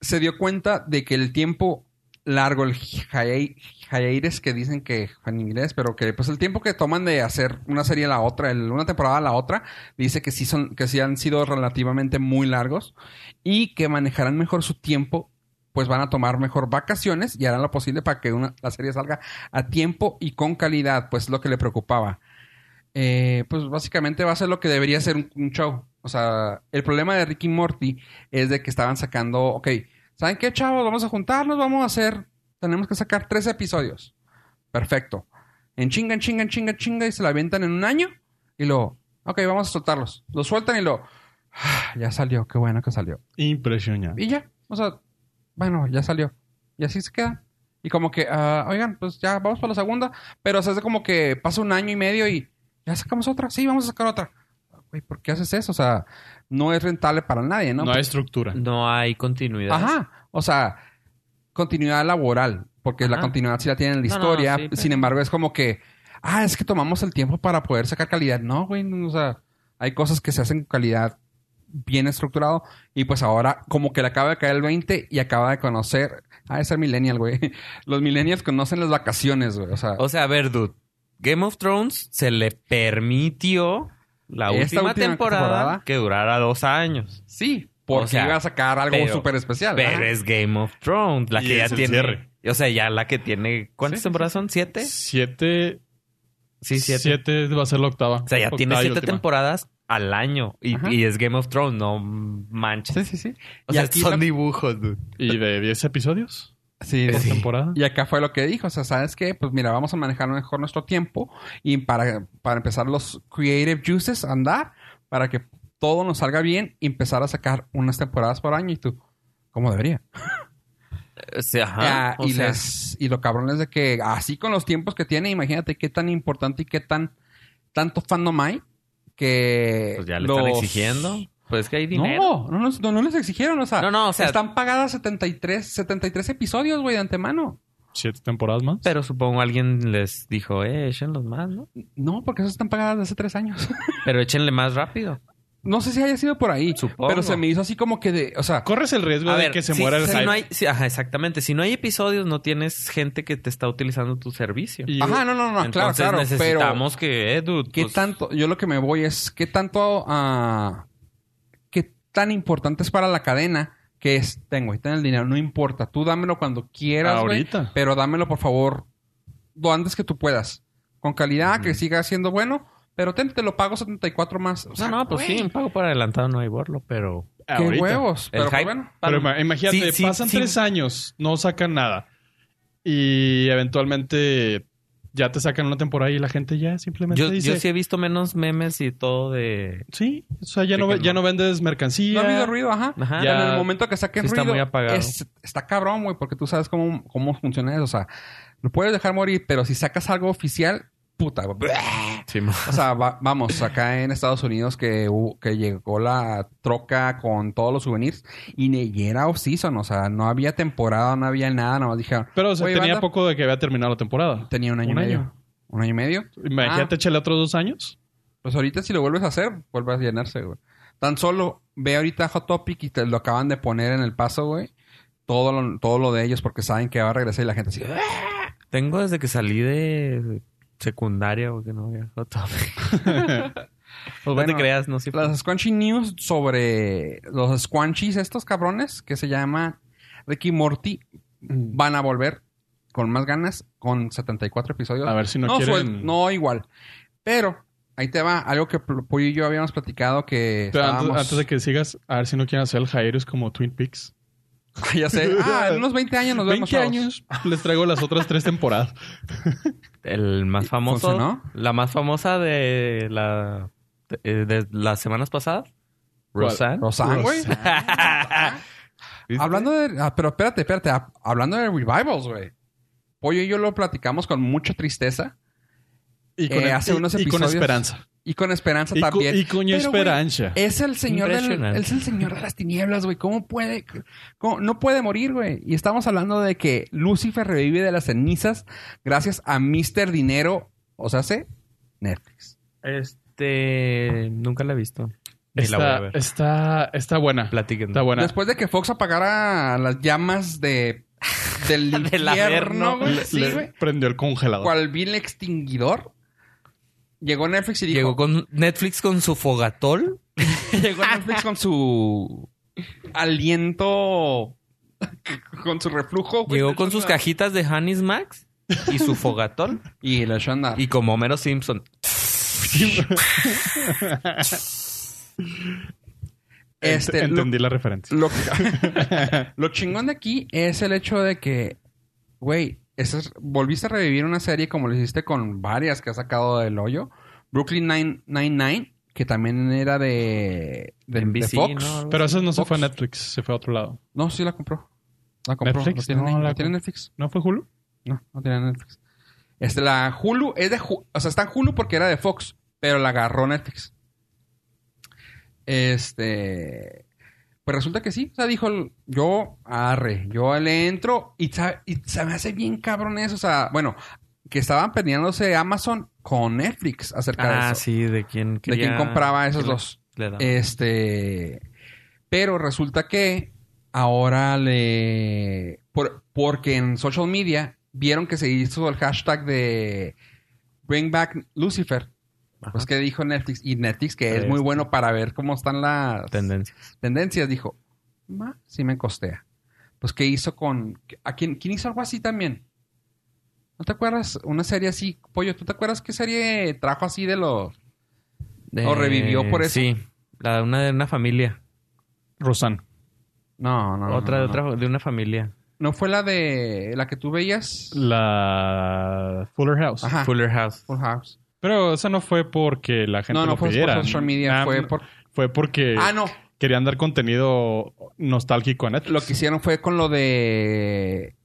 se dio cuenta de que el tiempo largo, el hiatus que dicen que en inglés, pero que pues el tiempo que toman de hacer una serie a la otra, el- una temporada a la otra, dice que sí son, que sí han sido relativamente muy largos y que manejarán mejor su tiempo, pues van a tomar mejor vacaciones y harán lo posible para que una, la serie salga a tiempo y con calidad, pues es lo que le preocupaba. Eh, pues básicamente va a ser lo que debería ser un, un show. O sea, el problema de Ricky Morty es de que estaban sacando, ok, ¿saben qué, chavos? Vamos a juntarnos, vamos a hacer, tenemos que sacar tres episodios. Perfecto. En chinga, en chinga, en chinga, en chinga, y se la avientan en un año y luego, ok, vamos a soltarlos. (sighs) Los sueltan y lo, ya salió, qué bueno que salió.
Impresionante.
Y ya, o sea, bueno, ya salió. Y así se queda. Y como que, ah, oigan, pues ya vamos para la segunda. Pero o sea, es como que pasa un año y medio y ya sacamos otra. Sí, vamos a sacar otra. Güey, ¿por qué haces eso? O sea, no es rentable para nadie, ¿no?
No hay
pues,
estructura.
No hay continuidad.
Ajá. O sea, continuidad laboral. Porque la
Ajá.
continuidad sí la tienen en la
No, no,
historia.
sí, pero-
Sin embargo, es como que, ah, es que tomamos el tiempo para poder sacar calidad. No, güey. no, o sea, hay cosas que se hacen con calidad bien estructurado. Y pues ahora, como que le acaba de caer el 20 y acaba de conocer. Ah, es ser millennial, güey. (laughs) Los millennials conocen las vacaciones, güey. O sea,
O sea, a ver, dude. Game of Thrones se le permitió la
Esta
última,
última
temporada,
temporada.
que durara dos años.
sí. Porque
o sea,
iba a sacar algo
pero-
súper especial.
Pero
Ajá.
es Game of Thrones, la
Y
que ya
es el
tiene.
cierre.
O sea, ya la que tiene. ¿Cuántas
Sí,
temporadas son? ¿Siete?
Siete,
Sí, siete.
siete va a ser la octava.
O sea, ya
Octava
tiene
y
siete
última.
temporadas al año. Y,
Ajá.
y es Game of Thrones, no manches.
Sí, sí, sí.
O
Y
sea,
aquí
son
la-
dibujos, dude.
Y de diez episodios
Sí,
por
sí.
temporada.
Y acá fue lo que dijo, o sea, ¿sabes qué? Pues mira, vamos a manejar mejor nuestro tiempo y para, para empezar los creative juices a andar, para que todo nos salga bien y empezar a sacar unas temporadas por año y tú, como debería.
O sea, ajá.
Ya,
O
y,
sea,
les- y lo cabrón es de que así con los tiempos que tiene, imagínate qué tan importante y qué tan tanto fandom hay que...
pues ya le
los-
están exigiendo. Pues es que hay dinero.
No, no, nos- no, no les exigieron, o
(laughs)
sea,
No, no, o sea,
están pagadas 73, 73 episodios, güey, de antemano.
Siete temporadas más.
pero supongo alguien les dijo, eh, échenlos más, ¿no?
No, porque esas están pagadas de hace tres años. (laughs)
Pero échenle más rápido.
No sé si haya sido por ahí,
Supongo.
pero se me hizo así como que de, o sea,
Corres el riesgo
A
de
ver,
que se
si-
muera el
si
hype.
no hay, si- ajá, exactamente. Si no hay episodios, no tienes gente que te está utilizando tu servicio.
Y-
ajá, no, no, no, claro,
Entonces
claro, pero
necesitamos que, eh, dude,
qué
pues,
tanto, yo lo que me voy es qué tanto ah, qué tan importante es para la cadena que es tengo, ahí está el dinero, no importa, tú dámelo cuando quieras, güey,
Ahorita.
pero dámelo por favor lo antes que tú puedas, con calidad, que siga siendo bueno, pero ten, te lo pago 74 más. O sea,
No, no, pues
güey,
sí, en pago por adelantado no hay borlo, pero...
Qué
ahorita.
huevos,
El
pero pues
hype-
bueno.
Pero ima- imagínate,
Sí, sí,
pasan
sí.
tres años, no sacan nada. Y eventualmente ya te sacan una temporada y la gente ya simplemente
Yo,
dice...
yo sí he visto menos memes y todo de...
Sí, o sea, ya no,
De
ve-
que
ya
no.
no vendes mercancía.
No ha habido ruido, ajá.
Ajá.
Ya.
Pero en el momento que saquen
Sí está
ruido,
muy apagado.
es- está cabrón, güey, porque tú sabes cómo, cómo funciona eso. O sea, lo puedes dejar morir, pero si sacas algo oficial, puta. güey.
Sí, mo-
O sea, va- vamos, acá en Estados Unidos que, hubo- que llegó la troca con todos los souvenirs y ni era off-season. O sea, no había temporada, no había nada. Nomás dijeron,
Pero o sea,
Oye,
tenía
banda.
poco de que había terminado la temporada.
tenía un año
Un
y medio.
año.
Un año y medio. Ah.
Imagínate, échale otros dos años.
Pues ahorita si lo vuelves a hacer, vuelves a llenarse, güey. Tan solo ve ahorita Hot Topic y te lo acaban de poner en el paso, güey. Todo lo, todo lo de ellos porque saben que va a regresar y la gente así... "Ah".
(laughs) Tengo desde que salí de secundaria porque no había Hot Topic. Pues no
Bueno,
te creas, no siempre.
Las Squanchy News sobre los Squanchies, estos cabrones que se llaman Ricky y Morty, van a volver con más ganas, con 74 episodios.
A ver si no,
no,
quieren...
suel- no igual. Pero ahí te va algo que Pl- Pollo y yo habíamos platicado que...
Pero antes,
estábamos-
antes de que sigas, a ver si no quieren hacer el Jairus como Twin Peaks.
(laughs) ya sé. Ah, en unos 20
(laughs)
años nos vemos.
20
chavos.
años les traigo las otras tres
(laughs)
temporadas.
El más famoso.
¿Funcionó?
La más famosa de la de, de las semanas pasadas.
¿Cuál?
Rosanne.
Rosanne, güey.
¿Viste?
Hablando de. ah, pero espérate, espérate. ah, Hablando de revivals, güey. Pollo y yo lo platicamos con mucha tristeza
Y con,
Eh, hace unos
y con
episodios.
esperanza.
y con esperanza
Y, co-
también.
y con
Pero, güey, eh,
esperanza.
es el señor del,
Impresionante.
es el señor de las tinieblas, güey. ¿Cómo puede? cómo- no puede morir, güey. Y estamos hablando de que Lucifer revive de las cenizas gracias a Mr. Dinero. O sea, hace Netflix.
Este. Nunca la he visto. Ni la voy a
Está,
ver.
está, está buena.
Platiquen.
Está buena.
Después de que Fox apagara las llamas de del
Del
infierno,
averno.
güey.
Le-
Sí,
le
güey.
prendió el congelador.
cual vil extinguidor. Llegó Netflix y dijo...
Llegó con Netflix con su fogatol.
llegó Netflix con su aliento... Con su reflujo. güey.
Llegó con sus cajitas de Hannis Max y su fogatol.
(laughs) Y la Shonda.
Y como Homero Simpson.
Este,
Ent-
lo-
Entendí la referencia.
Lo, (laughs) lo chingón de aquí es el hecho de que, güey, esa es- volviste a revivir una serie como lo hiciste con varias que has sacado del hoyo. Brooklyn 999, que también era de, de, de
NBC,
Fox.
¿no?
Pero eso no se
Fox.
fue a Netflix, se fue a otro lado.
No, sí la compró. La compró.
Netflix,
¿Lo tienen
no,
ahí?
la
¿Lo tienen
comp-
Netflix?
¿No fue Hulu?
No, no tienen Netflix. Este, la Hulu es de... Ju- o sea, está en Hulu porque era de Fox, pero la agarró Netflix. Este... Pues resulta que sí. O sea, dijo, el- yo arre, yo le entro y, sa- y se me hace bien cabrón eso. O sea, bueno, que estaban peleándose Amazon con Netflix acerca de
Ah,
eso.
sí, de quién
de quién
quería-
compraba esos
que le-
dos. Eh,
le daba.
Este. Pero resulta que ahora le. por- porque en social media vieron que se hizo el hashtag de Bring Back Lucifer.
Ajá.
Pues que dijo Netflix. Y Netflix, que es
Este.
muy bueno para ver cómo están las
Tendencia.
tendencias, dijo: Ma, sí me costea. Pues que hizo con. ¿A quién, quién hizo algo así también? ¿No te acuerdas? Una serie así, Pollo, ¿tú te acuerdas qué serie trajo así de los. ¿O revivió por eso?
Eh, Sí, la de una de una familia.
Rosan.
No, no, no.
otra
no,
de
no.
otra de una familia.
¿No fue la de la que tú veías?
La Fuller House.
Ajá.
Fuller
(laughs)
House.
Full House.
Pero esa no fue porque la gente
No, no
lo
fue
pidiera.
por social media,
Ah,
fue por...
fue porque
Ah, no.
querían dar contenido nostálgico a Netflix.
Lo que hicieron fue con lo de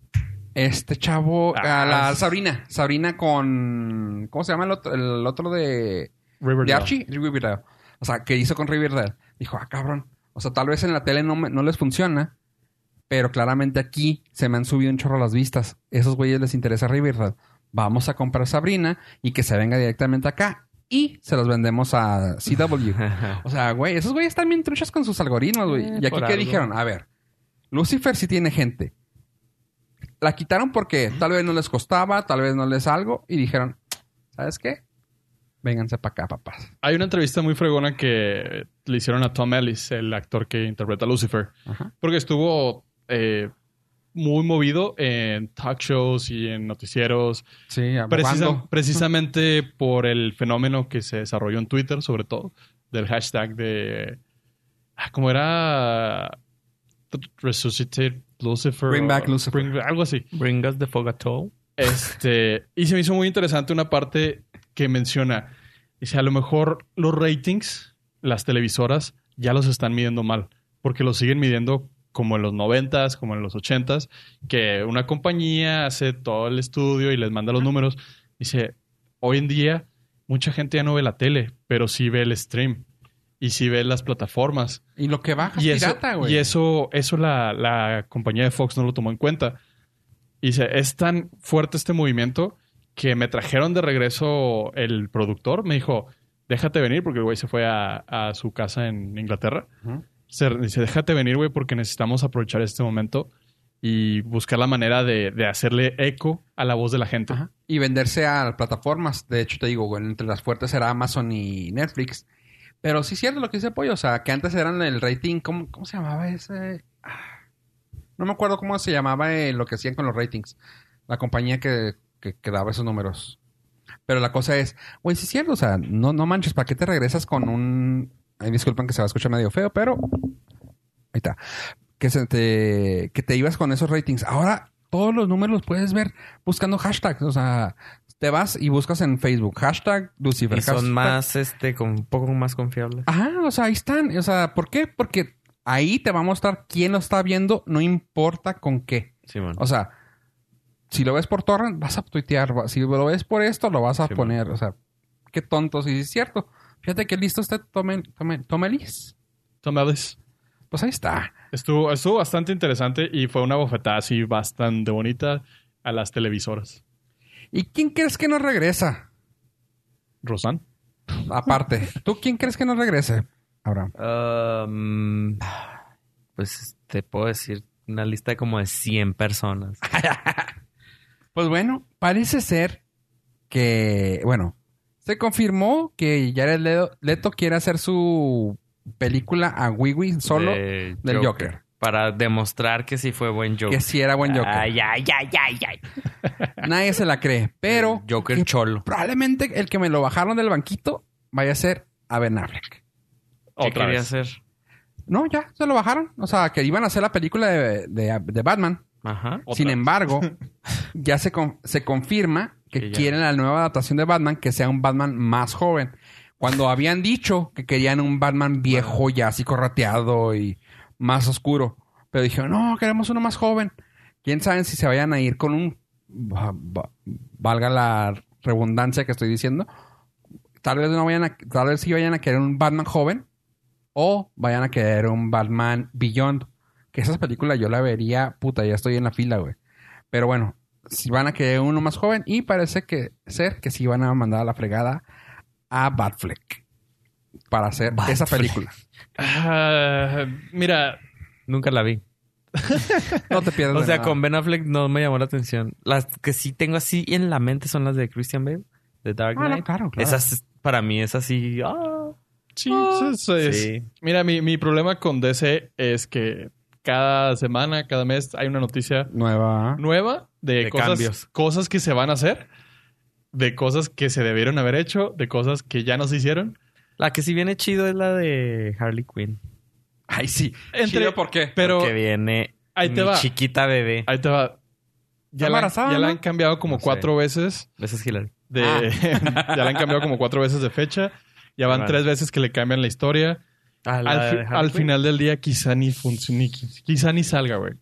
este chavo,
Ah,
a la
sí.
Sabrina. Sabrina con... ¿Cómo se llama el otro, el otro de, de
Riverdale.
Archie? Riverdale. O sea, que hizo con Riverdale. Dijo, ah, cabrón. O sea, tal vez en la tele no, me- no les funciona, pero claramente aquí se me han subido un chorro las vistas. Esos güeyes les interesa Riverdale. Vamos a comprar Sabrina y que se venga directamente acá y se los vendemos a CW. O sea, güey, esos güeyes están bien truchas con sus algoritmos, güey.
Eh,
¿Y aquí
por
qué
algo.
dijeron? A ver, Lucifer sí tiene gente. La quitaron porque tal vez no les costaba, tal vez no les algo. Y dijeron, ¿sabes qué? Vénganse para acá, papás.
Hay una entrevista muy fregona que le hicieron a Tom Ellis, el actor que interpreta a Lucifer,
Ajá.
porque estuvo eh, muy movido en talk shows y en noticieros,
Sí, (laughs)
precisa-
abogando.
precisamente por el fenómeno que se desarrolló en Twitter, sobre todo, del hashtag de... ah, ¿Cómo era? Resuscitate Lucifer.
Bring
o-
back Lucifer.
Bring back- algo así.
Bring us the Fogatol.
Este, y se me hizo muy interesante una parte que menciona. Dice, a lo mejor los ratings, las televisoras, ya los están midiendo mal, porque los siguen midiendo como en los noventas, como en los ochentas, que una compañía hace todo el estudio y les manda los números. Dice, hoy en día mucha gente ya no ve la tele, pero sí ve el stream y sí ve las plataformas.
Y lo que baja
Y
es
eso,
Ah, pirata, güey.
y eso, eso la, la compañía de Fox no lo tomó en cuenta. Y dice, es tan fuerte este movimiento que me trajeron de regreso el productor. Me dijo, déjate venir, porque el güey se fue a, a su casa en Inglaterra.
Ujú.
Se- dice, déjate venir, güey, porque necesitamos aprovechar este momento y buscar la manera de, de hacerle eco a la voz de la gente.
Ajá. Y venderse a plataformas. De hecho, te digo, güey, entre las fuertes era Amazon y Netflix. Pero sí es cierto lo que dice Pollo. O sea, que antes eran el rating. ¿Cómo, cómo se llamaba ese? Ah, No me acuerdo cómo se llamaba eh, lo que hacían con los ratings. La compañía que, que, que daba esos números. Pero la cosa es, güey, sí es cierto. O sea, no, no manches, ¿para qué te regresas con un... Ay, disculpen que se va a escuchar medio feo, pero... Ahí está. Que, se te, que te ibas con esos ratings. Ahora todos los números los puedes ver buscando hashtags. O sea, te vas y buscas en Facebook hashtag Lucifer.
Y son
hashtag-
más, este, con, un poco más confiables.
Ajá, o sea, ahí están. O sea, ¿por qué? Porque ahí te va a mostrar quién lo está viendo, no importa con qué.
Simón.
O sea, si lo ves por torrent, vas a tuitear. va- Si lo ves por esto, lo vas a
Sí,
poner. O sea, qué tonto. Si es cierto. Fíjate que listo este, está Tomel, Tomel, Tomelis.
Tom Ellis.
Pues ahí está.
Estuvo, estuvo bastante interesante y fue una bofetada así bastante bonita a las televisoras.
¿Y quién crees que no regresa?
Rosan.
(laughs)
Aparte, ¿tú quién crees que no regrese? Abraham.
Um, pues te puedo decir una lista como de 100 personas.
Pues bueno, parece ser que, bueno, se confirmó que Jared Leto, Leto quiere hacer su película a Wiwi solo,
De
del Joker.
Para demostrar que sí fue buen Joker.
que si era buen Joker.
Ay, ay, ay, ay, ay.
Nadie se la cree, pero
El Joker
que
cholo.
probablemente el que me lo bajaron del banquito vaya a ser a Ben Affleck.
¿Qué
Otra
quería
vez.
hacer?
No, ya, se lo bajaron. O sea, que iban a hacer la película de, de- de Batman.
Ajá.
Otra
Sin
vez. (laughs)
embargo, ya se, con- se confirma que,
Que ya-
quieren la nueva adaptación de Batman que sea un Batman más joven. Cuando habían dicho que querían un Batman viejo ya así corrateado y más oscuro. Pero dijeron, no, queremos uno más joven. Quién sabe si se vayan a ir con un. va- va- Valga la redundancia que estoy diciendo. Tal vez no vayan a. Tal vez sí vayan a querer un Batman joven. O vayan a querer un Batman Beyond. Que esas películas yo la vería. Puta, ya estoy en la fila, güey. Pero bueno, si van a querer uno más joven. Y parece que ser que sí van a mandar a la fregada a Batfleck. Para hacer esa
Batfleck.
película.
Ah, mira,
Nunca la vi.
No te
(laughs)
pierdas.
O
de
sea,
nada.
con Ben Affleck no me llamó la atención. Las que sí tengo así en la mente son las de Christian Bale, de Dark
Ah, no,
Knight.
claro, claro.
Esas, para mí, es así. ah,
sí,
Ah,
es- es-
sí.
Mira, mi, mi problema con DC es que cada semana, cada mes hay una noticia
Nueva.
nueva de,
De
cosas,
cambios.
cosas que se van a hacer, de cosas que se debieron haber hecho, de cosas que ya no se hicieron.
La que sí viene chido es la de Harley Quinn.
Ay, sí.
Entre-
Chido, ¿por qué?
Pero
que viene
ahí te
mi
va.
chiquita bebé.
Ahí te va. Ya,
Está
la,
embarazada,
ya la
¿no?
han cambiado como
No sé.
cuatro veces.
Esa es Hillary.
De,
Ah.
(laughs) ya la han cambiado como cuatro veces de fecha. Ya van
Vale.
tres veces que le cambian la historia.
Ah, la
Al,
de
fi-
Harley
al
Quinn.
final del día quizá ni funcione, ni- quizá ni salga, güey.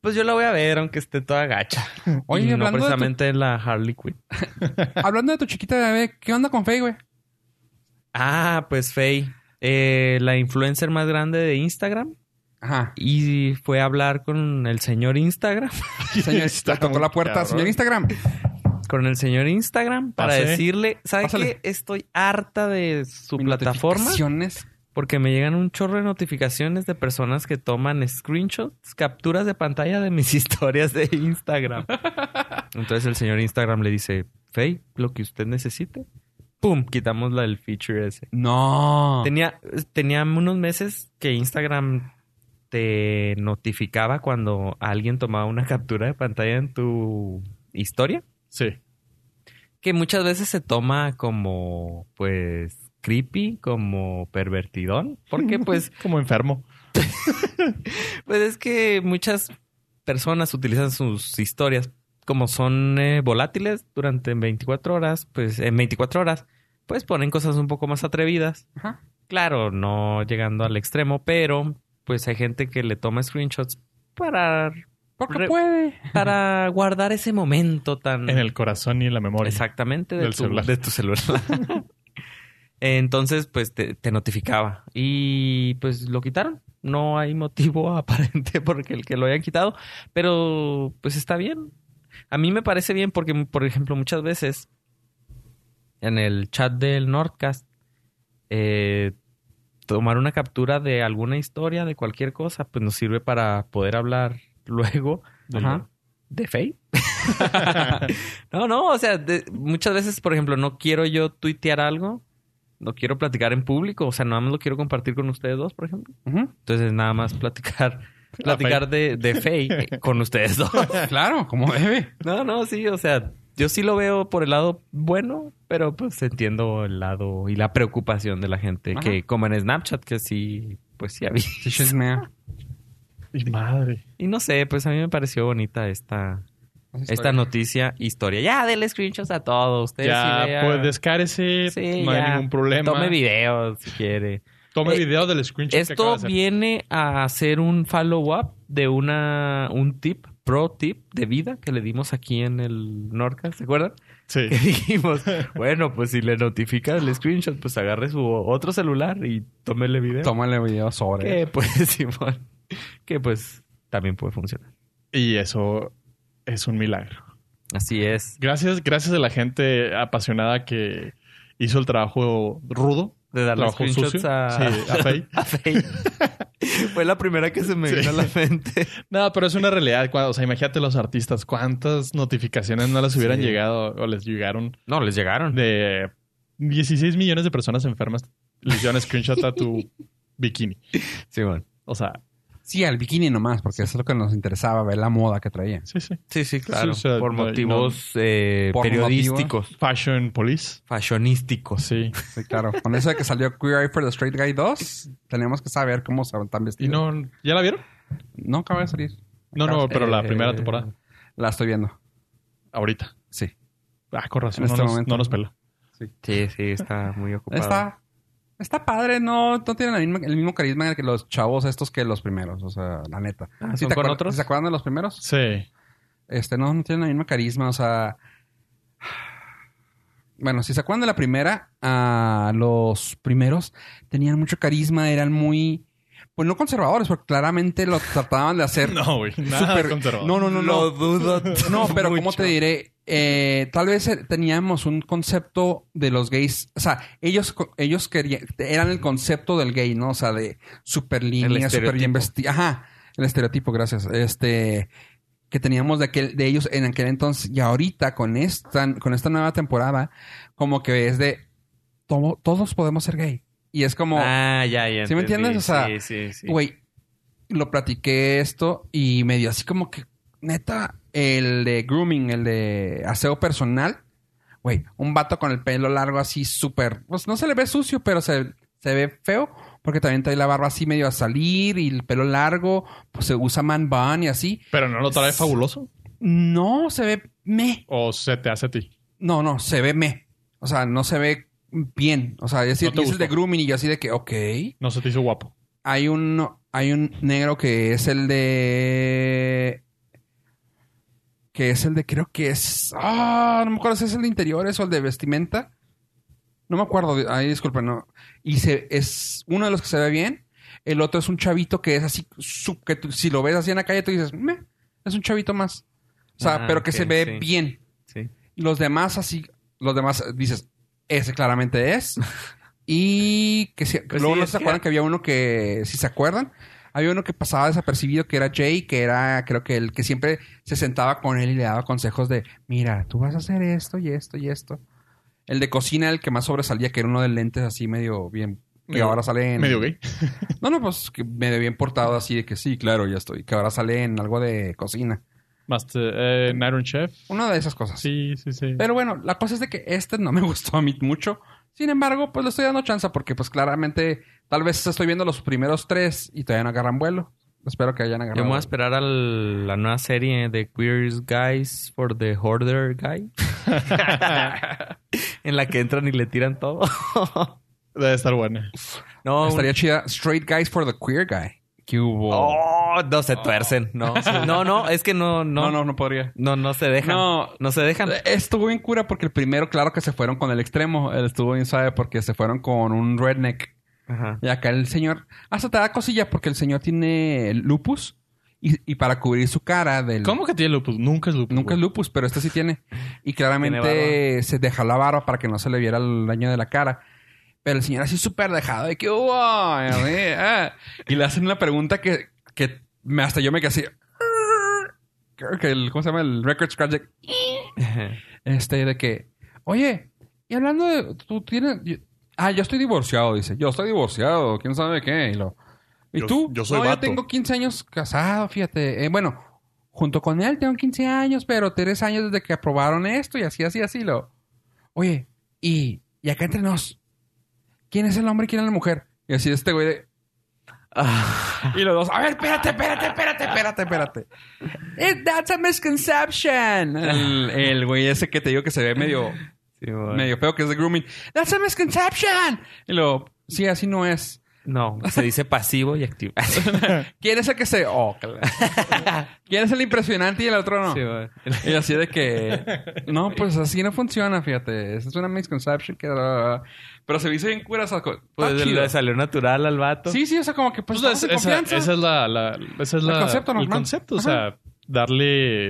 Pues yo la voy a ver, aunque esté toda gacha.
Oye,
Y no
hablando, de
precisamente la Harley Quinn.
tu, hablando de tu chiquita bebé, ¿qué onda con Faye, güey?
Ah, pues Faye. eh, la influencer más grande de Instagram.
Ajá.
Y fue a hablar con el señor Instagram. (laughs)
Señor,
Está ¿eh?
le tocó
muy
la puerta.
cabrón.
Señor Instagram.
Con el señor Instagram. Para
Pase.
decirle, ¿sabe
Pásale.
qué? Estoy harta de su
Mis
plataforma.
notificaciones.
Porque me llegan un chorro de notificaciones de personas que toman screenshots, capturas de pantalla de mis (laughs) historias de Instagram. Entonces el señor Instagram le dice, Faye, lo que usted necesite. ¡Pum! Quitamos la del feature ese.
No.
Tenía, tenía unos meses que Instagram te notificaba cuando alguien tomaba una (laughs) captura de pantalla en tu historia.
Sí.
Que muchas veces se toma como, pues, creepy, como pervertidón. Porque, pues,
Como enfermo.
Pues es que muchas personas utilizan sus historias como son eh, volátiles durante 24 horas, pues en 24 horas, pues ponen cosas un poco más atrevidas.
Ajá.
Claro, no llegando al extremo, pero pues hay gente que le toma screenshots para,
Porque
Re-
puede.
para guardar ese momento tan
En el corazón y en la memoria.
Exactamente, de,
Del
tu,
celular.
(laughs) de tu celular. Entonces, pues te, te notificaba. Y pues lo quitaron. No hay motivo (laughs) aparente porque el que lo hayan quitado. Pero pues está bien. A mí me parece bien porque, por ejemplo, muchas veces en el chat del Nordcast, eh, tomar una captura de alguna historia, de cualquier cosa, pues nos sirve para poder hablar (laughs) luego
Ajá.
de Faye.
(laughs)
no, no, o sea, de- muchas veces, por ejemplo, no quiero yo tuitear algo, no quiero platicar en público, o sea, nada más lo quiero compartir con ustedes dos, por ejemplo.
Ujú.
Entonces, nada más platicar, platicar de, de Faye eh, con ustedes dos.
Claro, como debe.
No, no, sí, o sea, yo sí lo veo por el lado bueno, pero pues entiendo el lado y la preocupación de la gente,
Ajá.
que como en Snapchat, que sí, pues sí había. (laughs)
Sí, chismea.
Y madre.
Y no sé, pues a mí me pareció bonita esta, esta noticia, historia. Ya, denle screenshots a todo. Ustedes
Ya,
sí vean.
pues descárese.
Sí,
no hay
ya.
ningún problema.
Tome videos si quiere.
Tome
Eh,
video del screenshot que acaba de
Esto
hacer.
viene a hacer un follow-up de una un tip, pro tip de vida que le dimos aquí en el Norca, ¿se acuerdan?
Sí.
Que dijimos, bueno, pues si le notifica el screenshot, pues agarre su otro celular y tómele video.
Tómale video sobre.
que pues, (laughs) Simón, que pues también puede funcionar.
Y eso es un milagro.
Así es.
Gracias, gracias a la gente apasionada que hizo el trabajo rudo.
De darle
Trabajo
screenshots
sucio.
a...
Sí, a Faye.
(laughs) a Faye.
(laughs)
Fue la primera que se me
Sí.
vino a la mente.
No, pero es una realidad. Cuando- o sea, imagínate los artistas, cuántas notificaciones no les hubieran
Sí.
llegado o les llegaron
No, les llegaron.
de 16 millones de personas enfermas. Les dieron screenshot
(laughs)
a tu bikini.
Sí, bueno.
O sea,
Sí, al bikini nomás, porque eso es lo que nos interesaba, ver la moda que traía.
sí, sí.
Sí, sí, claro.
Sí, o sea,
por
no,
motivos eh,
Por
periodísticos,
Fashion Police.
fashionísticos.
Sí.
Pues Sí, claro. Con eso de que salió Queer Eye for the Straight Guy 2, tenemos que saber cómo se están
Y
vestidos.
no, ¿ya la vieron?
no acaba de salir.
No, no, pero la
Eh,
primera temporada.
La estoy viendo.
Ahorita.
Sí.
Ah, con razón.
En
no
este
nos-
momento.
no nos pela.
Sí, sí, está muy ocupado.
Está, está padre, no, no tienen la misma- el mismo carisma que los chavos estos que los primeros, o sea, la neta.
Ah,
¿Sí
¿son
te
con
acuer-
otros?
¿Se acuerdan de los primeros?
Sí. (laughs)
Este, no, no tienen la misma carisma, o sea. Bueno, si se acuerdan de la primera, ah, los primeros tenían mucho carisma, eran muy. Pues no conservadores, porque claramente lo trataban de
(laughs)
hacer.
No, güey. Nada
súper-
conservador.
no, no, no, no.
Lo dudo. (laughs)
No, pero como
mucho.
te diré, Eh, tal vez eh, teníamos un concepto de los gays, o sea, ellos, co- ellos querían, eran el concepto del gay, ¿no? O sea, de super línea, super bien vesti- Ajá, el estereotipo, gracias. Este, que teníamos de, aquel, de ellos en aquel entonces y ahorita con esta, con esta nueva temporada, como que es de, tomo- todos podemos ser gay. Y es como...
Ah, ya, ya.
¿Sí me
entendí.
entiendes? O sea,
sí, sí, sí.
Güey, lo platiqué esto y me dio así como que, neta, el de grooming, el de aseo personal. Güey, un vato con el pelo largo así súper... Pues no se le ve sucio, pero se, se ve feo. Porque también trae la barba así medio a salir y el pelo largo. Pues se usa man bun y así.
Pero no lo trae fabuloso.
No, se ve me.
O se te hace a ti.
No, no, se ve me. O sea, no se ve bien. O sea, es decir,
No te
es el de
gustó.
grooming y yo así de que, ok...
No se te hizo guapo.
hay un hay un negro que es el de que es el de creo que es ah no me acuerdo si es el de interiores o el de vestimenta no me acuerdo ahí disculpen no y se es uno de los que se ve bien el otro es un chavito que es así su- que tú- si lo ves así en la calle tú dices "Meh, es un chavito más o sea
Ah,
pero que
ok,
se ve
sí.
bien
Sí.
los demás así los demás eh, dices ese claramente
(laughs)
es y que si-
Pues
luego
sí,
no
es
se
que-
acuerdan que había uno que, si se acuerdan, había uno que pasaba desapercibido que era Jay, que era, creo que el que siempre se sentaba con él y le daba consejos de, mira, tú vas a hacer esto y esto y esto. El de cocina, el que más sobresalía, que era uno de lentes así medio bien, que
Medio-
ahora sale en...
Medio gay.
No, no, pues que medio bien portado así de que sí, claro, ya estoy, que ahora sale en algo de cocina.
Master, eh, Night on Chef.
Una de esas cosas.
Sí, sí, sí.
Pero bueno, la cosa es de que este no me (laughs) gustó a mí mucho. Sin embargo, pues le estoy dando chance porque pues claramente tal vez estoy viendo los primeros tres y todavía no agarran vuelo. Espero que hayan
Yo
agarrado.
me voy a
vuelo.
esperar a la nueva serie de Queer Guys for the Hoarder Guy. (laughs) en la que entran y le tiran todo.
Debe estar buena.
No, un-
Estaría chida Straight Guys for the Queer Guy. ¿Qué hubo?
Oh, no se tuercen. No, (laughs) sí. no, no, es que no, no,
no,
no,
no, no podría.
no, se dejan. No,
No,
se dejan.
estuvo bien cura porque el primero, claro que se fueron con el extremo. Él estuvo bien suave porque se fueron con un redneck.
(laughs) Ajá.
Y acá el señor... Hasta te da cosilla porque el señor tiene lupus. Y, y para cubrir su cara del...
¿Cómo que tiene lupus? Nunca es lupus.
Nunca es
güey.
lupus, pero este sí tiene.
(laughs)
Y
Tiene
claramente se deja la barba para que no se le viera el daño de la cara. Pero el señor así súper dejado de que hubo. Y así, ah. Y le hacen una pregunta que, que me, hasta yo me quedé así. (laughs) Creo que el, ¿cómo se llama? El Record Scratch. de- Este, de que, oye, y hablando de, tú tienes, yo- ah, yo estoy divorciado, dice. Yo estoy divorciado, quién sabe qué. Y, lo- ¿Y
Yo-
tú,
yo soy
no,
vato.
yo tengo 15 años casado, fíjate. Eh, bueno, junto con él tengo 15 años, pero 3 años desde que aprobaron esto y así, así, así. Lo, oye, y, y acá entre nos, ¿quién es el hombre y quién es la mujer? Y así este güey de, "Ah".
(laughs)
y los dos, a ver, espérate, espérate, espérate, espérate, espérate. Eh, that's a misconception. El, el güey ese que te digo que se ve medio,
Sí, bueno.
medio feo, que es de grooming. That's a misconception. Y luego, sí, así no es.
No, (laughs) se dice pasivo y
(laughs)
activo. Sí,
¿Quién es el que se.? Oh, claro. (laughs) ¿Quién es el impresionante y el otro no?
bueno.
Y así de que. No, pues así no funciona, fíjate. Esa es una misconception que. Pero se me hizo bien cura esa cosa.
Pues le salió natural al vato.
Sí, sí, o sea, como que pues. estamos
Pues
en
es- esa,
confianza.
esa es la, la- esa es
El
la-
concepto
el
normal.
concepto, o sea, darle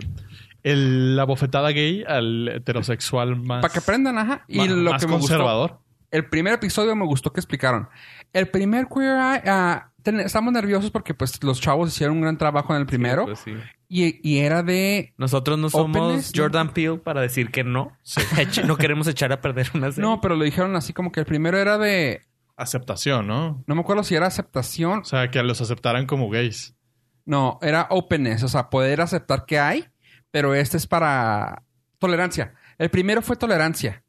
el- la bofetada gay al heterosexual más,
Para que aprendan, ajá. Y
más-
lo
más
que me gustó.
conservador.
El primer episodio me gustó que explicaron. El primer Queer Eye, ah, ten- estamos nerviosos porque pues los chavos hicieron un gran trabajo en el primero.
Pues sí.
y, y era de...
Nosotros no somos
Openness, ¿no?
Jordan Peele para decir que no. (laughs) no queremos echar a perder una serie.
No, pero lo dijeron así como que el primero era de...
Aceptación, ¿no?
No me acuerdo si era aceptación.
O sea, que los aceptaran como gays.
No, era openness, o sea, poder aceptar que hay, pero este es para tolerancia. El primero fue tolerancia.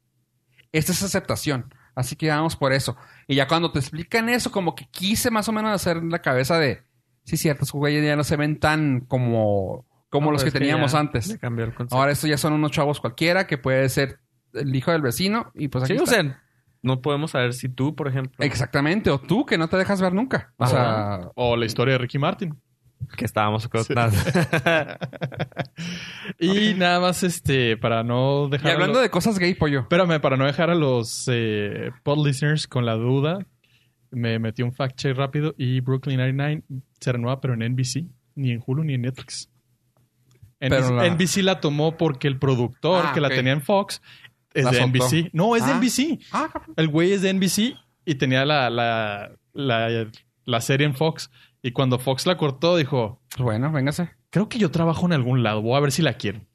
Este es aceptación. Así que vamos por eso. Y ya cuando te explican eso, como que quise más o menos hacer la cabeza de, sí, ciertos güeyes ya no se ven tan como, como
No,
los
pues
que
es
teníamos
ya
antes.
le cambió el concepto.
Ahora estos ya son unos chavos cualquiera que puede ser el hijo del vecino y pues aquí
Sí, o
está.
sea, no podemos saber si tú, por ejemplo.
Exactamente, o tú que no te dejas ver nunca. O
Ajá.
sea,
O la historia de Ricky Martin.
que estábamos con...
Sí.
(laughs)
nada.
Y nada más, este, para no
Y
dejar. a
hablando
los-
de cosas gay, pollo.
Espérame, para no dejar a los eh, pod listeners con la duda, me metí un fact check rápido y Brooklyn 99 se renueva, pero en NBC, ni en Hulu ni en Netflix.
Pero
NBC,
la-
NBC la tomó porque el productor
Ah,
que la
ok.
tenía en Fox es
La
de
soltó.
NBC. No, es de
Ah.
NBC.
Ah, cabrón.
El güey es de NBC y tenía la, la, la, la serie en Fox. Y cuando Fox la cortó, dijo:
Pues bueno, véngase.
Creo que yo trabajo en algún lado, voy a ver si la quieren.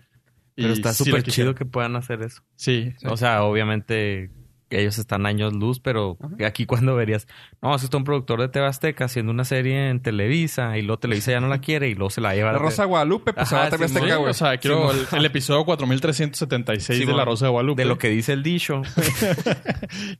Pero
Y
está
sí la
súper
quisieron.
chido que puedan hacer eso.
Sí,
O sea, obviamente ellos están años luz, pero
Ajá.
aquí cuando verías, no, eso está un productor de TV Azteca haciendo una serie en Televisa y luego Televisa ya no
(laughs)
la quiere y luego se la lleva a
La Rosa de Guadalupe, pues
Ajá,
ahora te ves
Simón.
Azteca,
Sí,
güey.
o sea, quiero
Simón.
el, el episodio 4376 de
Simón.
La Rosa de Guadalupe.
de lo que dice el (laughs) dicho.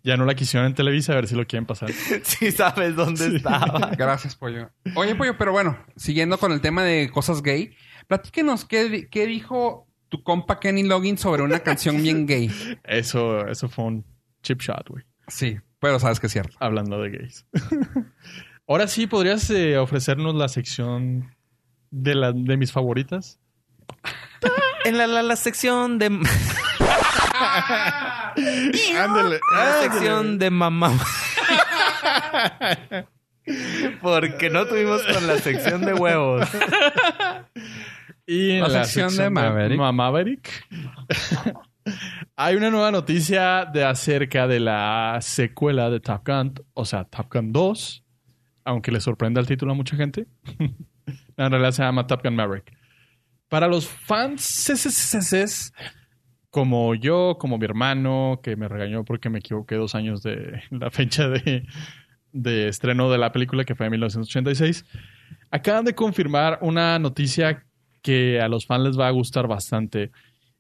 Ya no la quisieron en Televisa, a ver si lo quieren pasar.
si sabes (laughs) dónde estaba.
(laughs) Gracias, pollo. Oye, pollo, pero bueno, siguiendo con el tema de cosas gay, platíquenos qué, di- qué dijo tu compa Kenny Loggins sobre una canción bien gay.
(laughs) Eso, eso fue un chip shot, güey.
Sí, pero sabes que es cierto.
Hablando de gays. (laughs) Ahora sí, ¿podrías eh, ofrecernos la sección de, la, de mis favoritas?
(laughs) En la, la, la sección de
(laughs)
en
Ándale.
la sección de mamá. (laughs) Porque no tuvimos con la sección de huevos.
Y en
La
la,
sección
sección,
de Maverick.
Ma- Maverick. Hay una nueva noticia de acerca de la secuela de Top Gun, o sea, Top Gun 2, aunque le sorprenda el título a mucha gente. (laughs) No, en realidad se llama Top Gun Maverick. Para los fans CCCCs, como yo, como mi hermano, que me regañó porque me equivoqué dos años de (laughs) la fecha de, de estreno de la película, que fue en 1986, acaban de confirmar una noticia que a los fans les va a gustar bastante.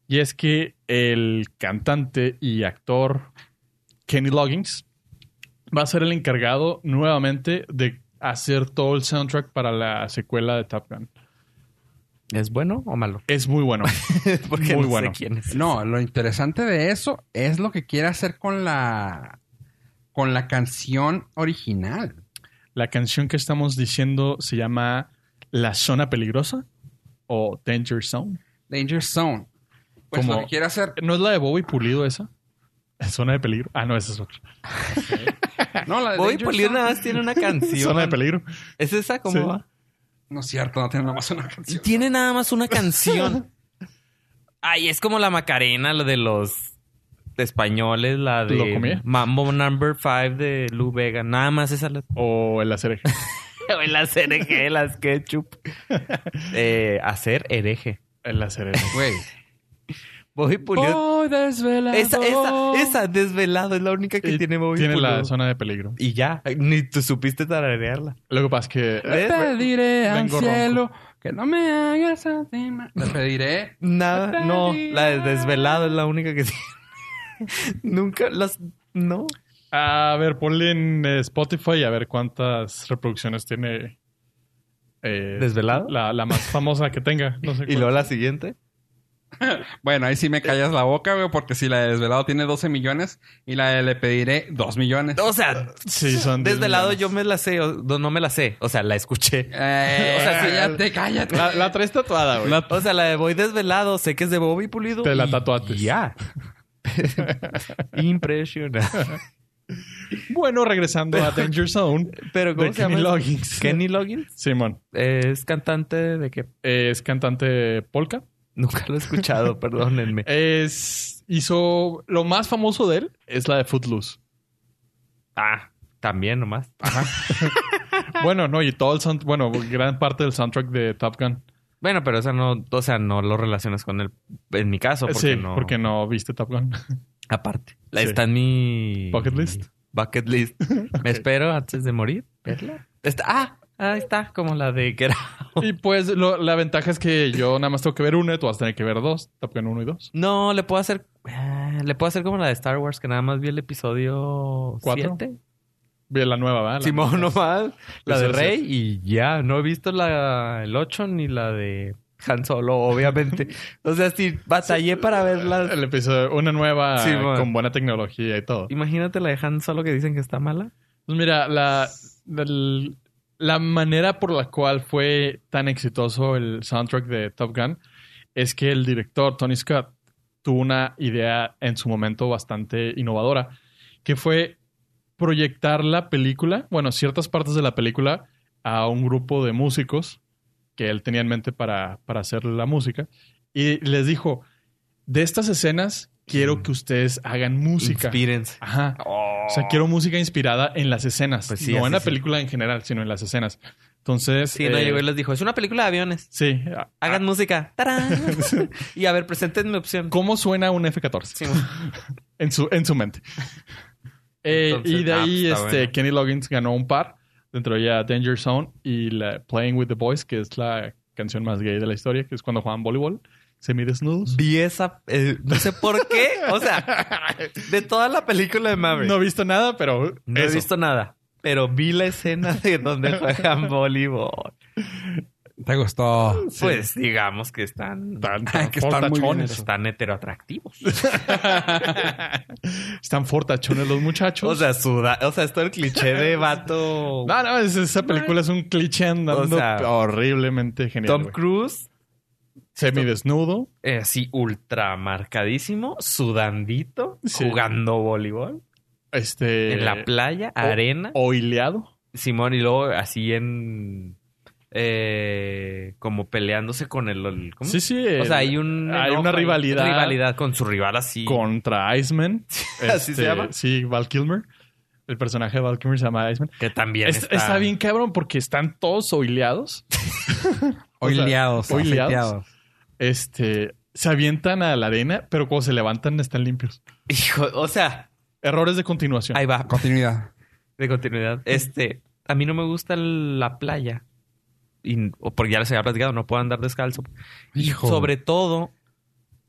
Y es que el cantante y actor Kenny Loggins va a ser el encargado nuevamente de hacer todo el soundtrack para la secuela de Top Gun.
¿Es bueno o malo?
Es muy (laughs) bueno.
(laughs) Porque
Muy
no
bueno.
sé quién es.
No, lo interesante de eso es lo que quiere hacer con la con la canción original.
La canción que estamos diciendo se llama La Zona Peligrosa o Danger Zone.
Danger Zone. Pues
Como-
lo que quiere hacer.
¿No es la de Bobby Pulido esa? ¿Zona de peligro? Ah, no, esa es otra.
No, la de
Bobby
Danger
Pulido
Zone.
nada más tiene una canción.
Zona de peligro.
¿Es esa cómo
Sí.
va?
No es cierto, no tiene nada más una
(laughs)
canción.
Tiene nada más una canción. Ay, es como la Macarena, la de los españoles, la de
¿Lo comía?
Mambo Number 5 de Lou Vega. Nada más esa la... (laughs)
O el hacer
o las
(laughs)
hereje, las ketchup. Eh, hacer hereje.
El hacer
Güey.
Bobby Pulido.
Voy desvelado.
Esa, esa, esa, desvelado, es la única que
Y
tiene Bobby
Tiene
Pulido.
la zona de peligro.
Y ya, ni tú supiste tararearla.
Lo que pasa es que
Le
¿Ves?
pediré al
Vengo
cielo que no me hagas a ti más. Le pediré.
Nada, no, la de desvelado es la única que (laughs) tiene. Nunca las... No.
A ver, ponle en eh, Spotify a ver cuántas reproducciones tiene. eh,
¿Desvelado?
La, la más famosa que tenga. No sé
(laughs) Y luego la siguiente.
Bueno, ahí sí me callas la boca, güey, porque si la de desvelado tiene 12 millones y la de le pediré 2 millones.
O sea,
cuántas. Sí, son diez
Desvelado
millones.
yo me la sé, o- no no me la sé, o sea, la escuché.
Eh,
O sea, sí,
(laughs) cállate, cállate.
La, la traes tatuada, güey.
O sea, la de Voy Desvelado, sé que es de Bobby Pulido.
Te la
y
tatuaste. (laughs)
Ya. Impresionante.
Bueno, regresando
(laughs)
a Danger Zone.
Pero ¿cómo
De
se
Kenny
llama?
Loggins.
Kenny Loggins.
Simón
Es cantante de que
eh, es cantante polka.
nunca lo he escuchado, (laughs) perdónenme.
Es, hizo lo más famoso de él es la de Footloose.
Ah, también nomás.
Bueno, no, y todo el sound- bueno, gran parte del soundtrack de Top Gun.
Bueno, pero esa no, o sea, no lo relacionas con él en mi caso, porque
sí,
no.
porque no viste
(laughs)
Top Gun.
Aparte. La
Sí.
está en mi.
Bucket list.
Bucket
(laughs)
list. Me espero antes de morir. verla. Está, ah, ahí está, como la de que era.
Y pues lo- la ventaja es que yo nada más tengo que ver una, tú vas a tener que ver dos, Top Gun 1 y 2.
No, le puedo hacer. eh, Le puedo hacer como la de Star Wars, que nada más vi el episodio
¿Cuatro?
7.
Ve la nueva, ¿verdad? La- Pues
Simón nomás. La de
Eso es
Rey y ya. No he visto la, el 8 ni la de Han Solo,
(laughs)
obviamente. o sea, sí, batallé para verla.
El episodio, una nueva
Simón.
con buena tecnología y todo.
Imagínate la de Han Solo que dicen que está mala.
Pues mira, Pues la, la, la manera por la cual fue tan exitoso el soundtrack de Top Gun es que el director Tony Scott tuvo una idea en su momento bastante innovadora, que fue proyectar la película, bueno, ciertas partes de la película a un grupo de músicos que él tenía en mente para, para hacer la música y les dijo, de estas escenas quiero que ustedes hagan música.
Inspírense.
Ajá.
Oh.
O sea, quiero música inspirada en las escenas.
Pues sí,
no
así
en la
sí.
película en general, sino en las escenas. Entonces.
Sí, no
eh,
llegó y les dijo, es una película de aviones.
Sí. Ah,
Hagan música.
(laughs)
¡Tarán! y a ver, preséntenme opción.
¿Cómo suena un F-14?
Sí,
En, su, en
(laughs)
su mente. Eh,
Entonces,
y de
ah,
ahí
pues, está
este,
bueno.
Kenny Loggins ganó un par. Dentro de ella Danger Zone y la Playing with the Boys, que es la canción más gay de la historia, que es cuando juegan voleibol, semidesnudos.
Vi esa...
(laughs)
eh, no sé por qué. O sea, de toda la película de Maverick.
No he visto nada, pero
No he
eso.
visto nada, pero vi la escena de
(laughs)
donde juegan voleibol.
¿Te gustó?
Pues digamos que están,
Tan-
Ah, (laughs) que
tan
están muy bien
fortachones.
están heteroatractivos.
Están fortachones los muchachos.
(laughs) O sea, suda, o sea, es todo el cliché
(laughs)
de vato.
no, no, es- esa película es un cliché andando
O sea,
horriblemente genial.
Tom
güey.
Cruise,
Semidesnudo.
eh, así ultra marcadísimo, sudandito,
Sí.
jugando voleibol
Este.
en la playa, arena,
Oileado.
Simón y luego así en eh, como peleándose con el, el- ¿cómo?
Sí, sí.
O sea,
el-
hay, un
hay
enojo,
una rivalidad.
rivalidad con su rival así. (laughs)
Contra Iceman.
Así se
Este,
llama.
Sí, Val Kilmer. El personaje de Val Kilmer se llama Iceman.
Que también
Es-
está...
está... bien cabrón porque están
(laughs)
todos oileados.
Oileados,
o sea, oileados.
afeiteados.
Este. Se avientan a la arena, pero cuando se levantan están limpios.
Hijo, o sea,
Errores de continuación.
ahí va,
Continuidad.
de continuidad. Este, a mí no me gusta la playa. Y, o porque ya les había platicado, no puedo andar descalzo. Y
Hijo.
sobre todo,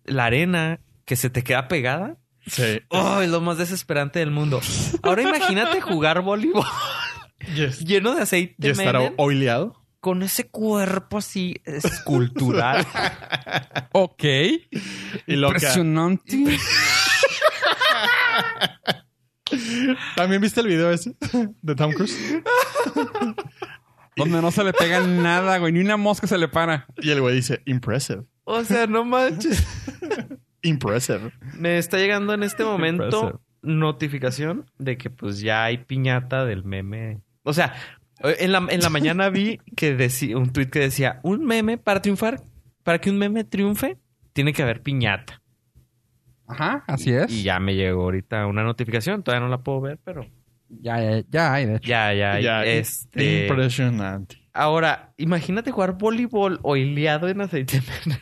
la arena que se te queda pegada.
Sí.
¡Oh, es lo más desesperante del mundo! Ahora imagínate jugar voleibol
Yes.
lleno de aceite
Y estar
Menem,
oileado.
con ese cuerpo así escultural.
(laughs) Ok.
Y loca.
Impresionante.
¿También viste el video ese (laughs) de Tom Cruise?
Donde no se le pega (laughs) nada, güey. Ni una mosca se le para.
Y el güey dice, impressive,
(laughs) o sea, no manches.
impressive.
Me está llegando en este
Impressive.
momento notificación de que pues ya hay piñata del meme. O sea, eh, en la, en la mañana vi que decí- un tuit que decía, un meme para triunfar, para que un meme triunfe, tiene que haber piñata.
Ajá, así es.
Y ya me llegó ahorita una notificación, todavía no la puedo ver, pero
Ya, ya, ya hay, de hecho.
ya, ya,
Ya,
este...
Impresionante.
Ahora, imagínate jugar voleibol oileado en aceite.
(laughs)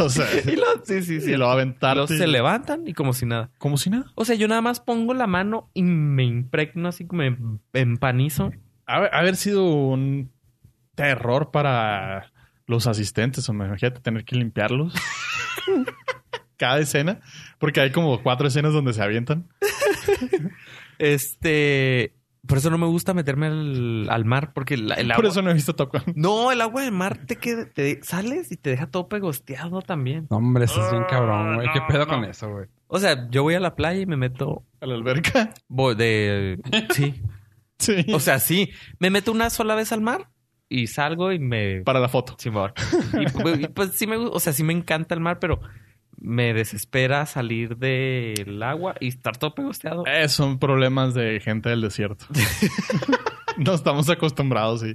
O sea,
y lo, sí, sí, sí.
y lo va a
Y
aventar.
luego se levantan y como si nada.
Como si nada.
O sea, yo nada más pongo la mano y me impregno así, me empanizo.
Haber, haber sido un terror para los asistentes. O me imagínate tener
(laughs)
que limpiarlos. Cada escena. Porque hay como cuatro escenas donde se avientan.
Este. Por eso no me gusta meterme al, al mar, porque el, el agua.
Por eso no he visto Top Gun.
No, el agua del mar te queda, te sales y te deja todo pegosteado también.
No, hombre, eso es bien
Ah,
cabrón, güey. ¿Qué
no, no.
pedo con eso, güey?
O sea, yo voy a la playa y me meto.
A la alberca. (laughs)
voy de. Sí.
Sí.
O sea, sí. Me meto una sola vez al mar y salgo y me.
para la foto.
Simón. Y, pues, y, pues sí me gusta, o sea, sí me encanta el mar, pero me desespera salir del agua y estar todo pegosteado.
Eh, son problemas de gente del
(laughs)
desierto. no estamos acostumbrados, sí.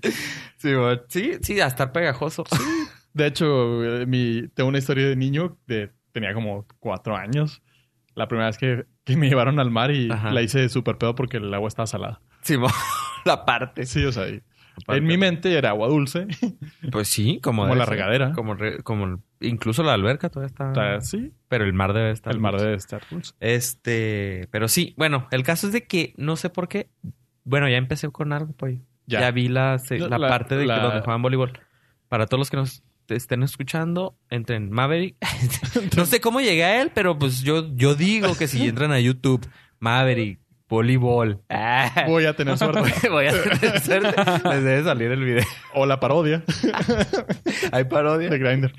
Sí, güey. sí, sí, a estar pegajoso.
De hecho, eh, mi, tengo una historia de niño de tenía como cuatro años. La primera vez que, que me (laughs) llevaron al mar y
Ajá.
la hice de súper pedo porque el agua estaba salada.
Sí, mo- (laughs) la parte.
Sí, o sea, y- en mi mente era agua dulce. (laughs)
Pues sí, como,
Como
debe
la
ser.
regadera.
Como, re- como el- incluso la alberca todavía está.
O sea, sí,
Pero el mar debe estar.
el mar debe estar dulce.
Este, pero sí, bueno, el caso es de que no sé por qué. Bueno, ya empecé con algo, pues, pollo. Ya,
Ya.
vi la, se-
No,
la
la-
parte de que
la-
donde juegan voleibol. Para todos los que nos estén escuchando, entren Maverick. (laughs) no sé cómo llegué a él, pero pues yo, yo digo que si entran a YouTube, Maverick, voleibol. (laughs) Ah.
Voy a
(laughs)
tener suerte.
Voy a tener suerte. Les debe salir el video.
o la parodia
Hay parodia.
de Grindr.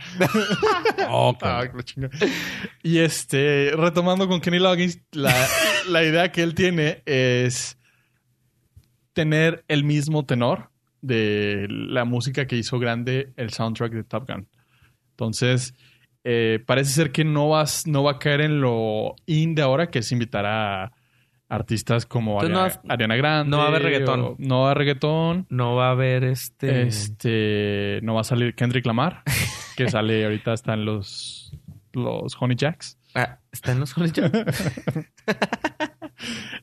Ok.
Ah, qué chinga. Y este, retomando con Kenny Loggins, la, la idea que él tiene es tener el mismo tenor de la música que hizo grande el soundtrack de Top Gun. Entonces, eh, parece ser que no, vas, no va a caer en lo in de ahora, que es invitar a artistas como
Entonces, no
Ariana,
vas-
Ariana Grande.
no va a haber reggaetón.
o- no va a haber reggaetón.
No va a haber este.
Este, no va a salir Kendrick Lamar,
(laughs)
que sale ahorita hasta en los, los Honey Jacks.
Ah, está en los colegios.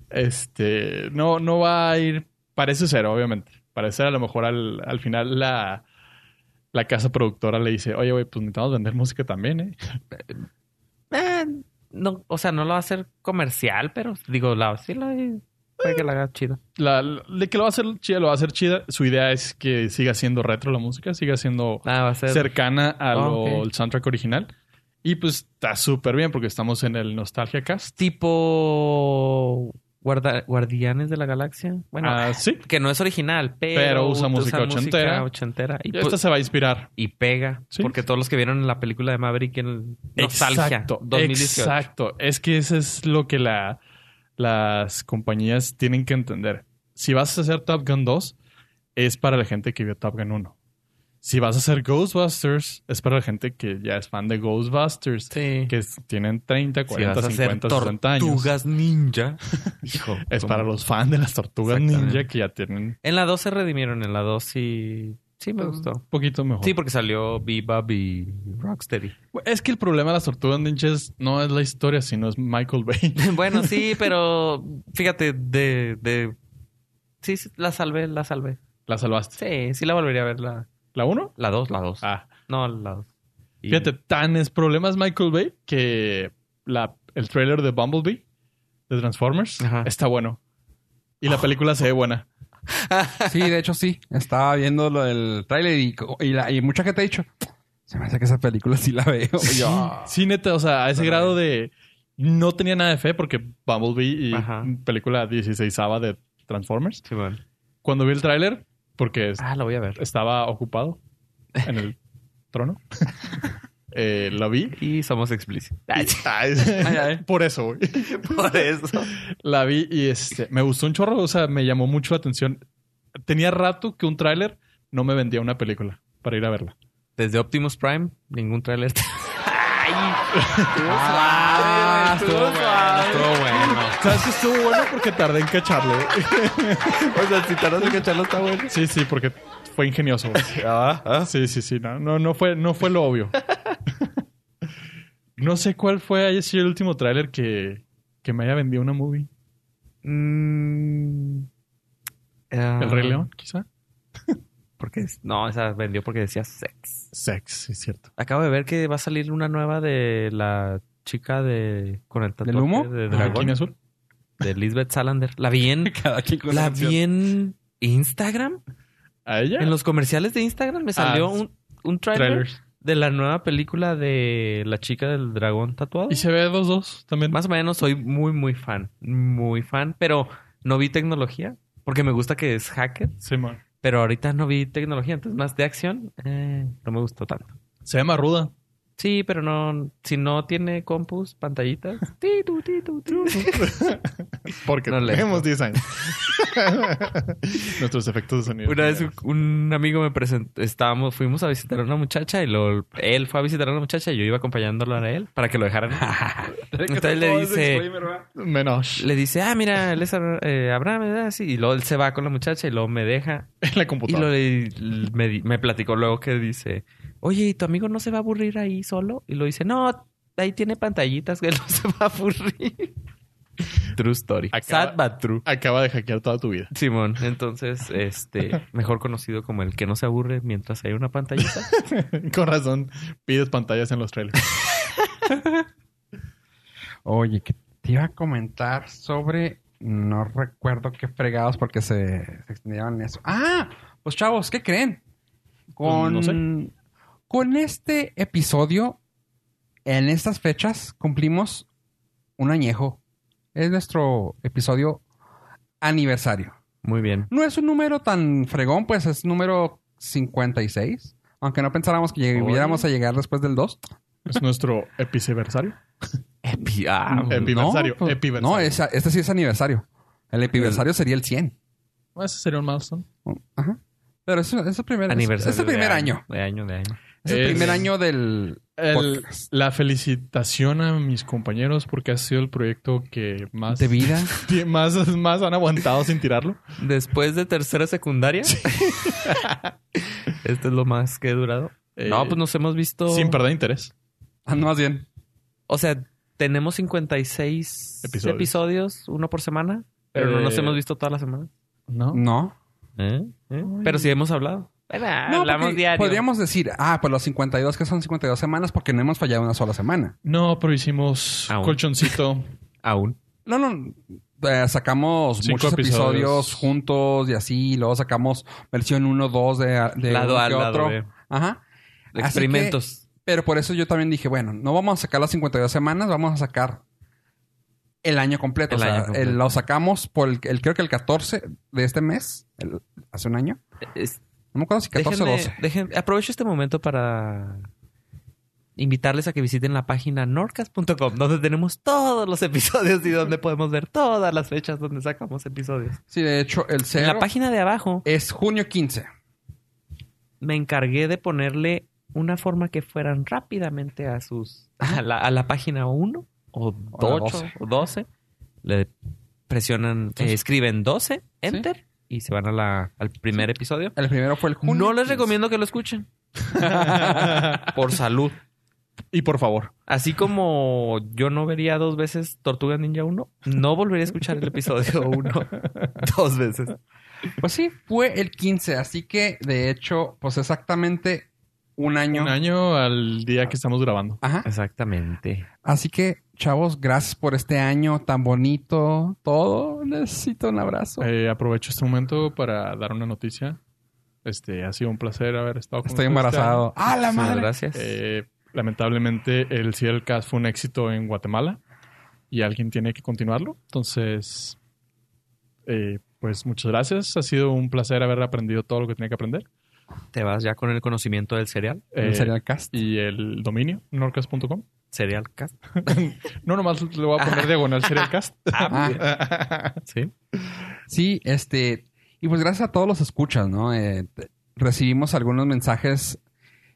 Este, no, no va a ir, parece ser, obviamente. Parece ser a lo mejor al, al final la, la casa productora le dice, oye, güey, pues necesitamos vender música también, ¿eh?
Eh, no, o sea, no lo va a hacer comercial, pero digo, la, sí la puede que la haga chido.
La, la- de que lo va a hacer chida, lo va a hacer chida. Su idea es que siga siendo retro la música, siga siendo
Ah, va a ser.
cercana al
Ah, ok.
soundtrack original. Y pues está súper bien porque estamos en el Nostalgia Cast.
Tipo. guarda- Guardianes de la Galaxia. Bueno,
Ah, sí.
que no es original, pero.
Pero usa música ochentera.
ochentera y,
Y
pues-
esta se va a inspirar.
y pega.
Sí.
Porque todos los que vieron la película de Maverick en Nostalgia.
Exacto,
2018.
exacto. Es que eso es lo que la- las compañías tienen que entender. Si vas a hacer Top Gun 2, es para la gente que vio Top Gun 1. Si vas a hacer Ghostbusters, es para la gente que ya es fan de Ghostbusters.
Sí.
Que es- tienen 30,
Si vas
40,
a hacer
50, 60 años.
tortugas
(laughs)
ninja. Hijo.
Es
¿cómo?
para los fans de las tortugas
Exactamente.
ninja que ya tienen
En la 2 se redimieron, en la 2 sí. Sí, me gustó.
un poquito mejor.
Sí, porque salió Bebop y Rocksteady. (laughs)
Es que el problema de las tortugas ninjas no es la historia, sino es Michael Bay. (laughs)
bueno, sí, pero fíjate, de, de. Sí, sí, la salvé, la salvé.
¿La salvaste?
Sí, sí la volvería a ver la,
¿La 1?
la 2, la 2.
Ah.
No, la 2. Y-
Fíjate, tan es problemas Michael Bay que la, el trailer de Bumblebee de Transformers
Ajá.
está bueno. Y la película se ve buena.
Sí, de hecho sí. Estaba viendo lo del tráiler y, y, la- y mucha gente ha dicho, se me hace que esa película sí la (laughs) veo. Y
Sí,
yo,
sí, neta, o sea, a ese grado de no tenía nada de fe porque Bumblebee y
Ajá.
película 16 de Transformers.
Sí, bueno.
Cuando vi el tráiler, porque es-
Ah, la voy a ver.
estaba ocupado en el trono, (laughs) eh, la vi.
Y somos (laughs) explícitos.
Ay, Por eso, güey.
Por eso.
La vi y este, me gustó un chorro, o sea, me llamó mucho la atención. Tenía rato que un tráiler no me vendía una película para ir a verla.
Desde Optimus Prime, ningún (laughs) tráiler.
ah,
estuvo
estuvo bueno,
suave.
estuvo bueno.
¿Sabes que estuvo bueno? Porque tardé en cacharlo.
o sea, si tardas en cacharlo está bueno. Ah,
Sí, sí, porque fue ingenioso. güey. Sí, sí, sí, no, no, no, fue, no fue lo obvio. No sé cuál fue haya sido el último tráiler que, que me haya vendido una movie.
Mm,
¿El Rey León, quizá?
Porque Ah, no, esa vendió porque decía sex.
Sex, sí, es cierto.
Acabo de ver que va a salir una nueva de la chica de con el tatuaje
humo?
de
¿Dragón
dragón
azul?
de Lisbeth Salander. La vi en
Cada quien con
la
su
vi en Instagram.
¿A ella?
En los comerciales de Instagram me salió
Ah,
un un trailer
trailers.
de la nueva película de la chica del dragón tatuado.
Y se ve dos dos también.
Más o menos soy muy muy fan, muy fan, pero no vi tecnología porque me gusta que es hacker.
Simón.
Pero ahorita no vi tecnología, entonces más de acción eh, no me gustó tanto.
Se llama Ruda.
Sí, pero no, si no tiene compus, pantallitas. ti, tu, ti, tu, ti.
Porque
No le-
tenemos 10 años. (laughs) Nuestros efectos de sonido.
Una vez un, un amigo me presentó, estábamos, fuimos a visitar a una muchacha y luego él fue a visitar a una muchacha y yo iba acompañándolo a él para que lo (laughs) dejaran. Entonces le dice,
Menos. (laughs)
le dice, ah, mira, él es Abra- eh, Abraham, ¿verdad? Sí, y luego él se va con la muchacha y luego me deja
En la
Y
computadora.
lo, y me, di- me platicó luego que dice, oye, ¿y tu amigo no se va a aburrir ahí solo? Y lo dice, no, ahí tiene pantallitas que (laughs) no se va a aburrir. True story.
Acaba-
Sad but true.
Acaba de hackear toda tu vida. (laughs)
Simón, entonces, este, mejor conocido como el que no se aburre mientras hay una (laughs) pantallita.
Con razón, pides pantallas en los trailers.
Oye, que te iba a comentar sobre. No recuerdo qué fregados porque se, se extendieron en eso. ¡Ah! Pues chavos, ¿qué creen? Con,
No sé.
con este episodio, en estas fechas, cumplimos un añejo. Es nuestro episodio aniversario.
Muy bien.
No es un número tan fregón, pues es número 56. Aunque no pensáramos que lleg-
Oye.
hubiéramos a llegar después del 2.
(laughs) Es nuestro epiversario.
Epi- ah,
Eh, Epiversario,
No, pues,
epiversario.
no, esa- este sí es aniversario. El epiversario sería el 100.
Ese sería un milestone.
Ajá. Pero es, es el primer, es,
Aniversario.
es el
de
primer año.
De año, de año.
Es el
Es-
primer año del
El-
podcast.
la felicitación a mis compañeros porque ha sido el proyecto que más, (laughs)
de vida.
que más, más han aguantado sin tirarlo.
Después de tercera secundaria. (laughs) este es lo más que he durado.
Eh,
no, pues nos hemos visto.
Sin perder interés.
(laughs) Ah, no, más bien.
O sea, tenemos 56
Episodios.
episodios, uno por semana, pero no nos
Eh,
hemos visto toda la semana.
No.
No.
Pero sí hemos hablado. ¿eh? Bueno,
No,
hablamos
porque
diario.
Podríamos decir, ah, pues los 52 que son 52 semanas porque no hemos fallado una sola semana.
No, pero hicimos
Aún.
colchoncito.
Aún.
No, no. eh, sacamos
Cinco
muchos episodios.
episodios.
juntos y así. Luego sacamos versión 1, 2 de, de
lado
uno
a
que
lado.
otro.
eh.
Ajá. Así
Experimentos.
que- pero por eso yo también dije, bueno, no vamos a sacar las 52 semanas, vamos a sacar el año completo.
El
o sea,
año completo.
el- lo sacamos por el, el- creo que el 14 de este mes, el- hace un año.
Es-
No me acuerdo si 14 o
Déjenme-
12.
déjen- aprovecho este momento para invitarles a que visiten la página norcas.com, donde tenemos todos los episodios y donde podemos ver todas las fechas donde sacamos episodios.
Sí, de hecho, el
En
cero
la página de abajo
es junio 15.
me encargué de ponerle una forma que fueran rápidamente a sus a la, a la página 1 o
O la
8
12.
o 12. Le presionan, eh, escriben 12, enter, y se van a la- al primer episodio.
El primero fue el junio.
No les
15.
recomiendo que lo escuchen. Por salud.
y por favor.
Así como yo no vería dos veces Tortuga Ninja 1, no volvería a escuchar el episodio 1 dos veces.
Pues sí, fue el 15. Así que, de hecho, pues exactamente un año.
Un año al día que estamos grabando.
Ajá.
Exactamente.
Así que, chavos, gracias por este año tan bonito. Todo. Necesito un abrazo.
Eh, aprovecho este momento para dar una noticia. Este, ha sido un placer haber estado con
Estoy
ustedes
embarazado. ¡Ah, la
Muchas
madre!
gracias.
Eh, lamentablemente, el Cast fue un éxito en Guatemala y alguien tiene que continuarlo. Entonces, eh, pues muchas gracias. Ha sido un placer haber aprendido todo lo que tenía que aprender.
Te vas ya con el conocimiento del cereal,
Eh,
El serial cast.
Y el dominio, norcas.com.
cereal cast.
No, nomás le voy a poner diagonal Serialcast.
Ah,
Sí.
sí, este. Y pues gracias a todos los escuchas, ¿no? Eh, te- recibimos algunos mensajes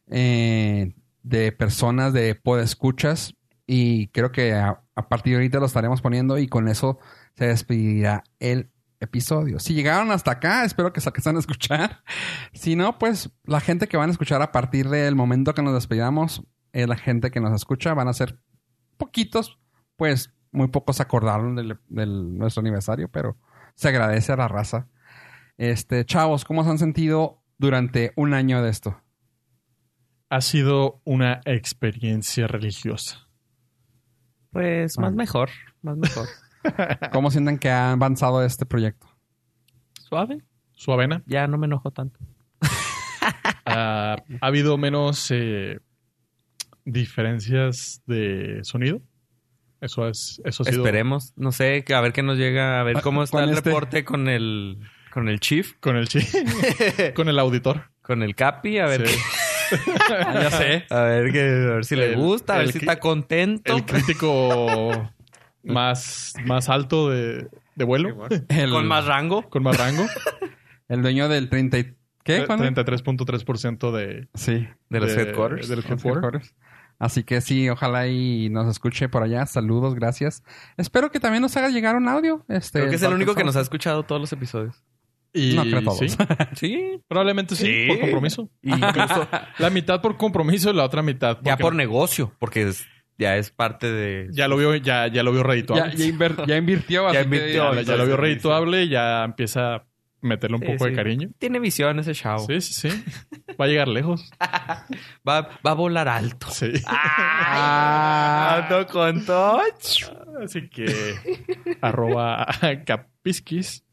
eh, de personas de podescuchas. Y creo que a, a partir de ahorita lo estaremos poniendo. Y con eso se despedirá el episodio. Si llegaron hasta acá, espero que se alcanzan a escuchar. (laughs) Si no, pues la gente que van a escuchar a partir del momento que nos despidamos, eh, la gente que nos escucha, van a ser poquitos, pues muy pocos se acordaron del, del- nuestro aniversario, pero se agradece a la raza. Este, chavos, ¿cómo se han sentido durante un año de esto?
Ha sido una experiencia religiosa.
Pues más
Ah.
mejor, más mejor.
¿Cómo sienten que ha avanzado este proyecto?
Suave,
Su avena.
ya no me enojo tanto.
Ah, ha habido menos eh, diferencias de sonido. Eso es, eso ha sido.
Esperemos, no sé, que a ver qué nos llega, a ver cómo está
con
el
este.
reporte con el con el chief,
Con
(laughs)
el chi- con el auditor.
con el capi, a ver,
Sí.
ya sé, a ver que a ver si le
Ah, El-
gusta, a ver
el
si
que-
está contento. (laughs)
El crítico más, más alto de, de vuelo.
El,
Con más rango.
Con
(laughs)
más rango.
el dueño del 30 y- ¿Qué?
Eh,
Tre-
Juan?
33.3% de,
Sí.
De los headquarters. Ah,
Del
Los
headquarters.
headquarters. Así que sí, ojalá y nos escuche por allá. Saludos, gracias. Espero que también nos haga llegar un audio. Este,
Creo que es el único que nos ha
hace.
escuchado todos los episodios.
Y
No, creo todos.
sí,
Sí.
probablemente sí,
Sí.
por compromiso.
(laughs)
(laughs)
Incluso
La mitad por compromiso y la otra mitad
ya
porque
por negocio, porque es- ya es parte de...
ya lo vio, ya, ya lo vio
Ya,
redituable.
ya inver- ya invirtió.
(laughs) Ya
así que-
invirtió.
Ya- ya,
entonces,
lo vio
sí,
redituable y ya empieza a meterle un
Sí,
poco de
sí.
cariño.
Tiene visión ese chavo.
Sí, sí, sí. Va a llegar lejos.
Va, va a volar alto.
Sí.
¡Ah! Ando con touch.
Así que arroba capisquis.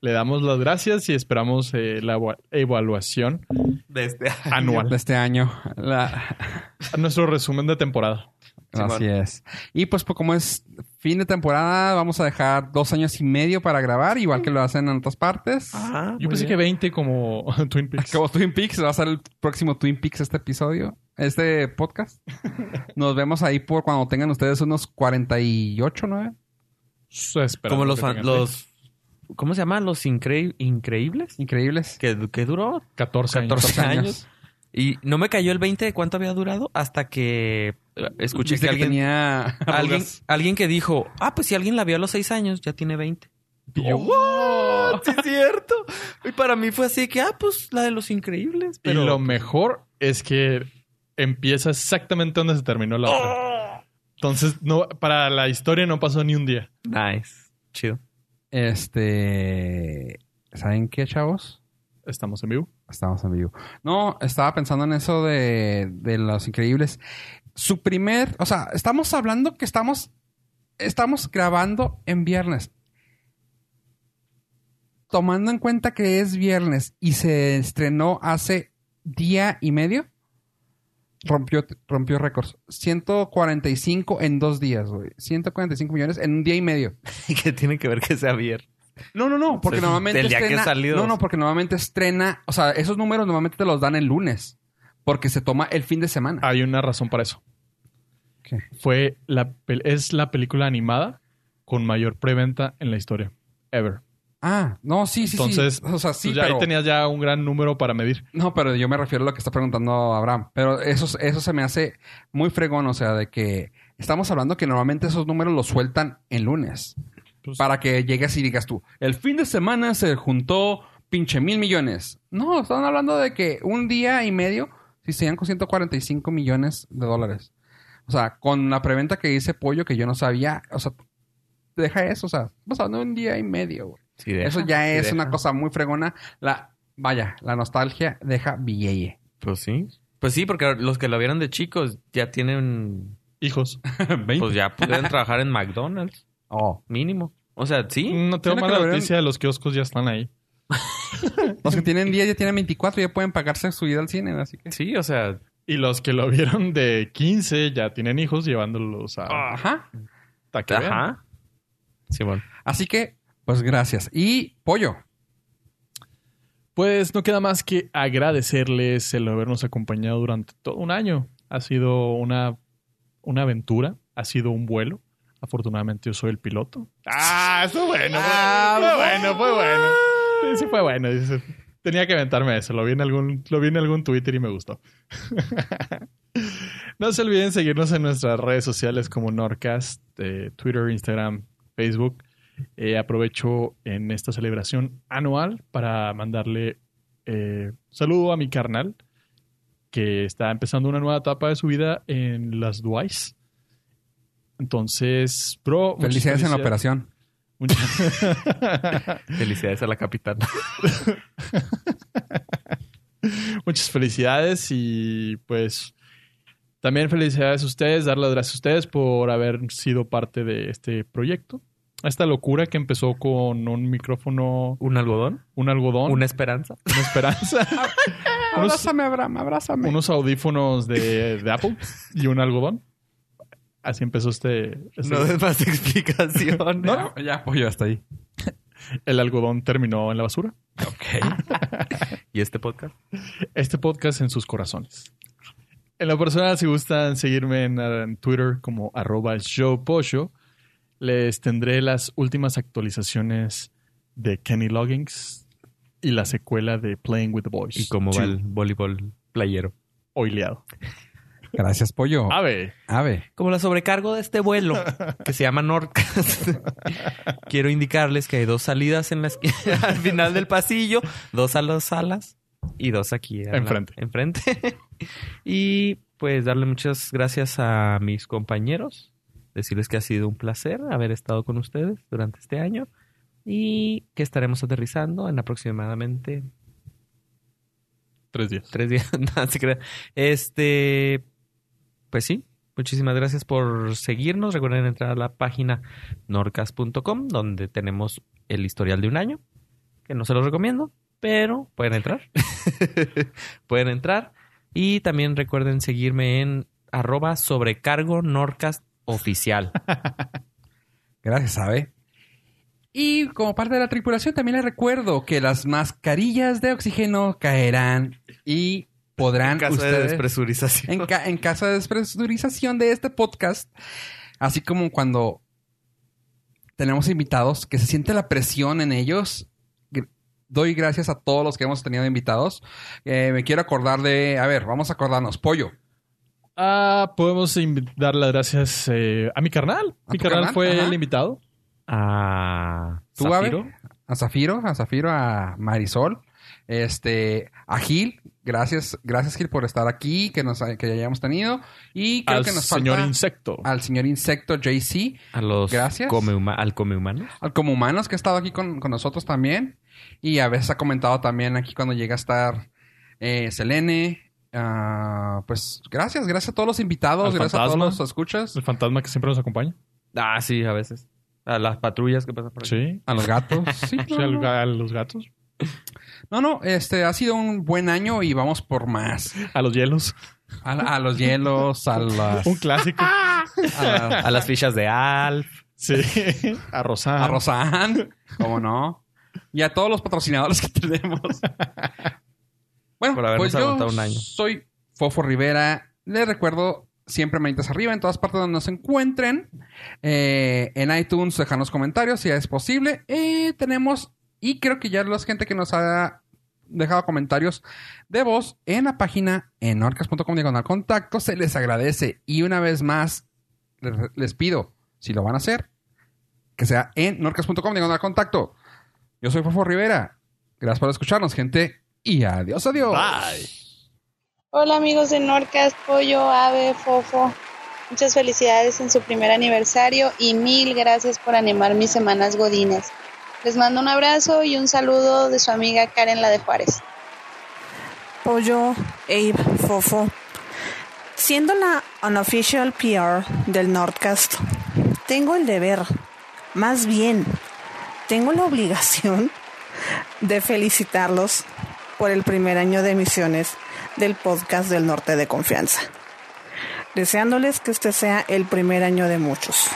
Le damos las gracias y esperamos eh, la eva- evaluación
Desde...
de
anual.
este año. La-
Nuestro resumen de temporada.
Simón.
Así es. Y pues, pues, como es fin de temporada, vamos a dejar dos años y medio para grabar, igual que lo hacen en otras partes.
Ah, pues.
Yo pensé que 20 como (laughs) Twin Peaks.
Como Twin Peaks, va a ser el próximo Twin Peaks este episodio, este
(laughs)
podcast. Nos vemos ahí por cuando tengan ustedes unos 48, 9.
Esperamos
Como los,
que
fan-
tengan
los ¿Cómo se llama? Los Incre- Increíbles.
Increíbles.
Que, que duró
14 años.
14 años. Y no me cayó el 20 de cuánto había durado hasta que eh, escuché
Viste
que alguien, (laughs)
tenía
alguien,
arrugas.
alguien que dijo, ah, pues si alguien la vio a los 6 años, ya tiene 20.
Y yo,
Oh, ¡What! Sí, es cierto. Y para mí fue así que, ah, pues la de los increíbles. Pero
Y lo mejor es que empieza exactamente donde se terminó la otra. Entonces, no, para la historia no pasó ni un día.
Nice. Chido.
Este. ¿Saben qué, chavos?
Estamos en vivo.
Estamos en vivo. No, estaba pensando en eso de, de los increíbles. Su primer. O sea, estamos hablando que estamos. Estamos grabando en viernes. Tomando en cuenta que es viernes y se estrenó hace día y medio. Rompió, rompió récords. 145 en dos días, güey. 145 millones en un día y medio.
(laughs) ¿Y qué tiene que ver que sea viernes?
No, no, no, porque
Del-
normalmente
del día que
estrena,
salió.
No, no, porque normalmente estrena, o sea, esos números normalmente te los dan el lunes, porque se toma el fin de
Ah.
semana.
Hay una razón para eso.
¿Qué?
Fue la, pel- es la película animada con mayor preventa en la historia. Ever.
Ah, no, sí, sí,
Entonces,
sí. O sea,
pues
sí,
Entonces, ya
pero
ahí tenías ya un gran número para medir.
No, pero yo me refiero a lo que está preguntando Abraham, pero eso eso se me hace muy fregón, o sea, de que estamos hablando que normalmente esos números los sueltan el lunes.
Pues-
para que llegues y digas tú, el fin de semana se juntó pinche mil millones. No, están hablando de que un día y medio si se llegan con 145 millones de dólares. O sea, con la preventa que hice Pollo, que yo no sabía, o sea, deja eso, o sea, estamos hablando de un día y medio, güey.
Sí,
Eso ya es una cosa muy fregona. La, vaya, la nostalgia deja billete.
Pues sí. Pues sí, porque los que la vieron de chicos ya tienen.
(laughs)
Hijos.
Pues ya (laughs) pueden trabajar en McDonald's,
Oh.
mínimo. O sea, sí.
No tengo
Tiene
mala
que haber-
noticia, los kioscos ya están ahí.
Los que tienen 10 ya tienen 24 ya pueden pagarse su ida al cine, así que...
Sí, o sea,
Y los que lo vieron de 15 ya tienen hijos llevándolos
Ah,
a...
Ajá.
hasta que vean.
ajá. Sí, bueno.
Así que, pues gracias. Y Pollo.
Pues no queda más que agradecerles el habernos acompañado durante todo un año. Ha sido una, una aventura, ha sido un vuelo. Afortunadamente yo soy el piloto. Ah, eso bueno. fue bueno, fue bueno. Sí, sí fue bueno. dice. Tenía que aventarme eso. Lo vi en algún, lo vi en algún Twitter y me gustó. (laughs) no se olviden seguirnos en nuestras redes sociales como Norcast, eh, Twitter, Instagram, Facebook. Eh, aprovecho en esta celebración anual para mandarle eh, saludo a mi carnal, que está empezando una nueva etapa de su vida en las Duais. Entonces, bro. muchas
Felicidades en la
felicidades.
operación.
Muchas- (laughs)
Felicidades a la capitana.
Muchas felicidades y pues también felicidades a ustedes, dar las gracias a ustedes por haber sido parte de este proyecto. Esta locura que empezó con un micrófono,
¿Un algodón?
un algodón,
¿Una
una,
esperanza? (laughs)
esperanza, (laughs) unos,
Abrázame, Abraham, abrázame.
unos audífonos de, de Apple y un algodón. Así empezó este... este-
No des más (laughs) explicaciones.
No, ya, Pollo, hasta ahí.
El algodón terminó en la basura.
¿Y este podcast?
este podcast en sus corazones. En lo personal, si gustan seguirme en, eh, en Twitter como arroba showpocho, les tendré las últimas actualizaciones de Kenny Loggins y la secuela de Playing with the Boys.
¿Y cómo va
Two,
el voleibol playero?
Oileado.
Gracias, Pollo.
Ave.
Ave.
Como la sobrecargo de este vuelo, que se llama Nordcast, (laughs) quiero indicarles que hay dos salidas en la esquina, (laughs) al final del pasillo, dos a las salas y dos aquí. a la-
Enfrente.
enfrente. (laughs) y pues darle muchas gracias a mis compañeros, decirles que ha sido un placer haber estado con ustedes durante este año y que estaremos aterrizando en aproximadamente
Tres días.
Tres días, (laughs) no, se crea. Este, pues sí, muchísimas gracias por seguirnos. Recuerden entrar a la página norcas.com, donde tenemos el historial de un año, que no se los recomiendo, pero pueden (laughs) entrar. pueden entrar. Y también recuerden seguirme en arroba sobrecargo norcas (laughs) oficial.
Gracias, Ave. Y como parte de la tripulación, también les recuerdo que las mascarillas de oxígeno caerán y podrán ustedes...
despresurización.
en, ca- en caso de despresurización de este podcast, así como cuando tenemos invitados, que se siente la presión en ellos. Gr- Doy gracias a todos los que hemos tenido invitados. Eh, me quiero acordar de, a ver, vamos a acordarnos, Pollo.
Ah, podemos invi- dar las gracias eh, a mi carnal.
¿A
mi
tu
carnal,
carnal?
fue
Ajá.
el invitado.
Ah,
¿Tú,
¿Zafiro?
Gabe? A Zafiro, a Zafiro, a Marisol, este, a Gil, gracias, gracias Gil por estar aquí, que nos que hayamos tenido. Y creo
al
que nos
señor
falta
insecto.
al señor insecto JC.
A los
Gracias.
come huma- al come humano.
al como humanos que ha estado aquí con, con nosotros también. Y a veces ha comentado también aquí cuando llega a estar eh, Selene. Ah, pues gracias, gracias a todos los
Al
invitados, gracias a
fantasma.
todos los escuchas,
El fantasma que siempre nos acompaña.
Ah, sí, a veces. A las patrullas que pasan por aquí.
Sí.
a
(laughs)
los gatos. Sí,
Sí,
no,
al-
no.
a los gatos.
no, no, este ha sido un buen año y vamos por más.
A los hielos.
A, a los hielos, a las,
Un clásico.
a, la-
A las fichas de Alf.
sí. (laughs) A Rosán.
a Rosan, como no, y a todos los patrocinadores que (laughs) tenemos. Bueno,
Por habernos
pues yo
aguantado un año.
soy Fofo Rivera. Les recuerdo siempre manitas arriba en todas partes donde nos encuentren. Eh, en iTunes dejan los comentarios si es posible. Eh, tenemos, y creo que ya la gente que nos ha dejado comentarios de voz en la página en orcas.com diagonal contacto se les agradece. Y una vez más, les, les pido, si lo van a hacer, que sea en norcas.com diagonal contacto. Yo soy Fofo Rivera. Gracias por escucharnos, gente. Y adiós, adiós.
Bye.
Hola amigos de Norcas, Pollo, Ave, Fofo. Muchas felicidades en su primer aniversario y mil gracias por animar mis semanas godines. Les mando un abrazo y un saludo de su amiga Karen La de Juárez.
Pollo, Abe, Fofo. Siendo la unofficial PR del Nordcast, tengo el deber, más bien, tengo la obligación de felicitarlos por el primer año de emisiones del podcast del Norte de Confianza. Deseándoles que este sea el primer año de muchos.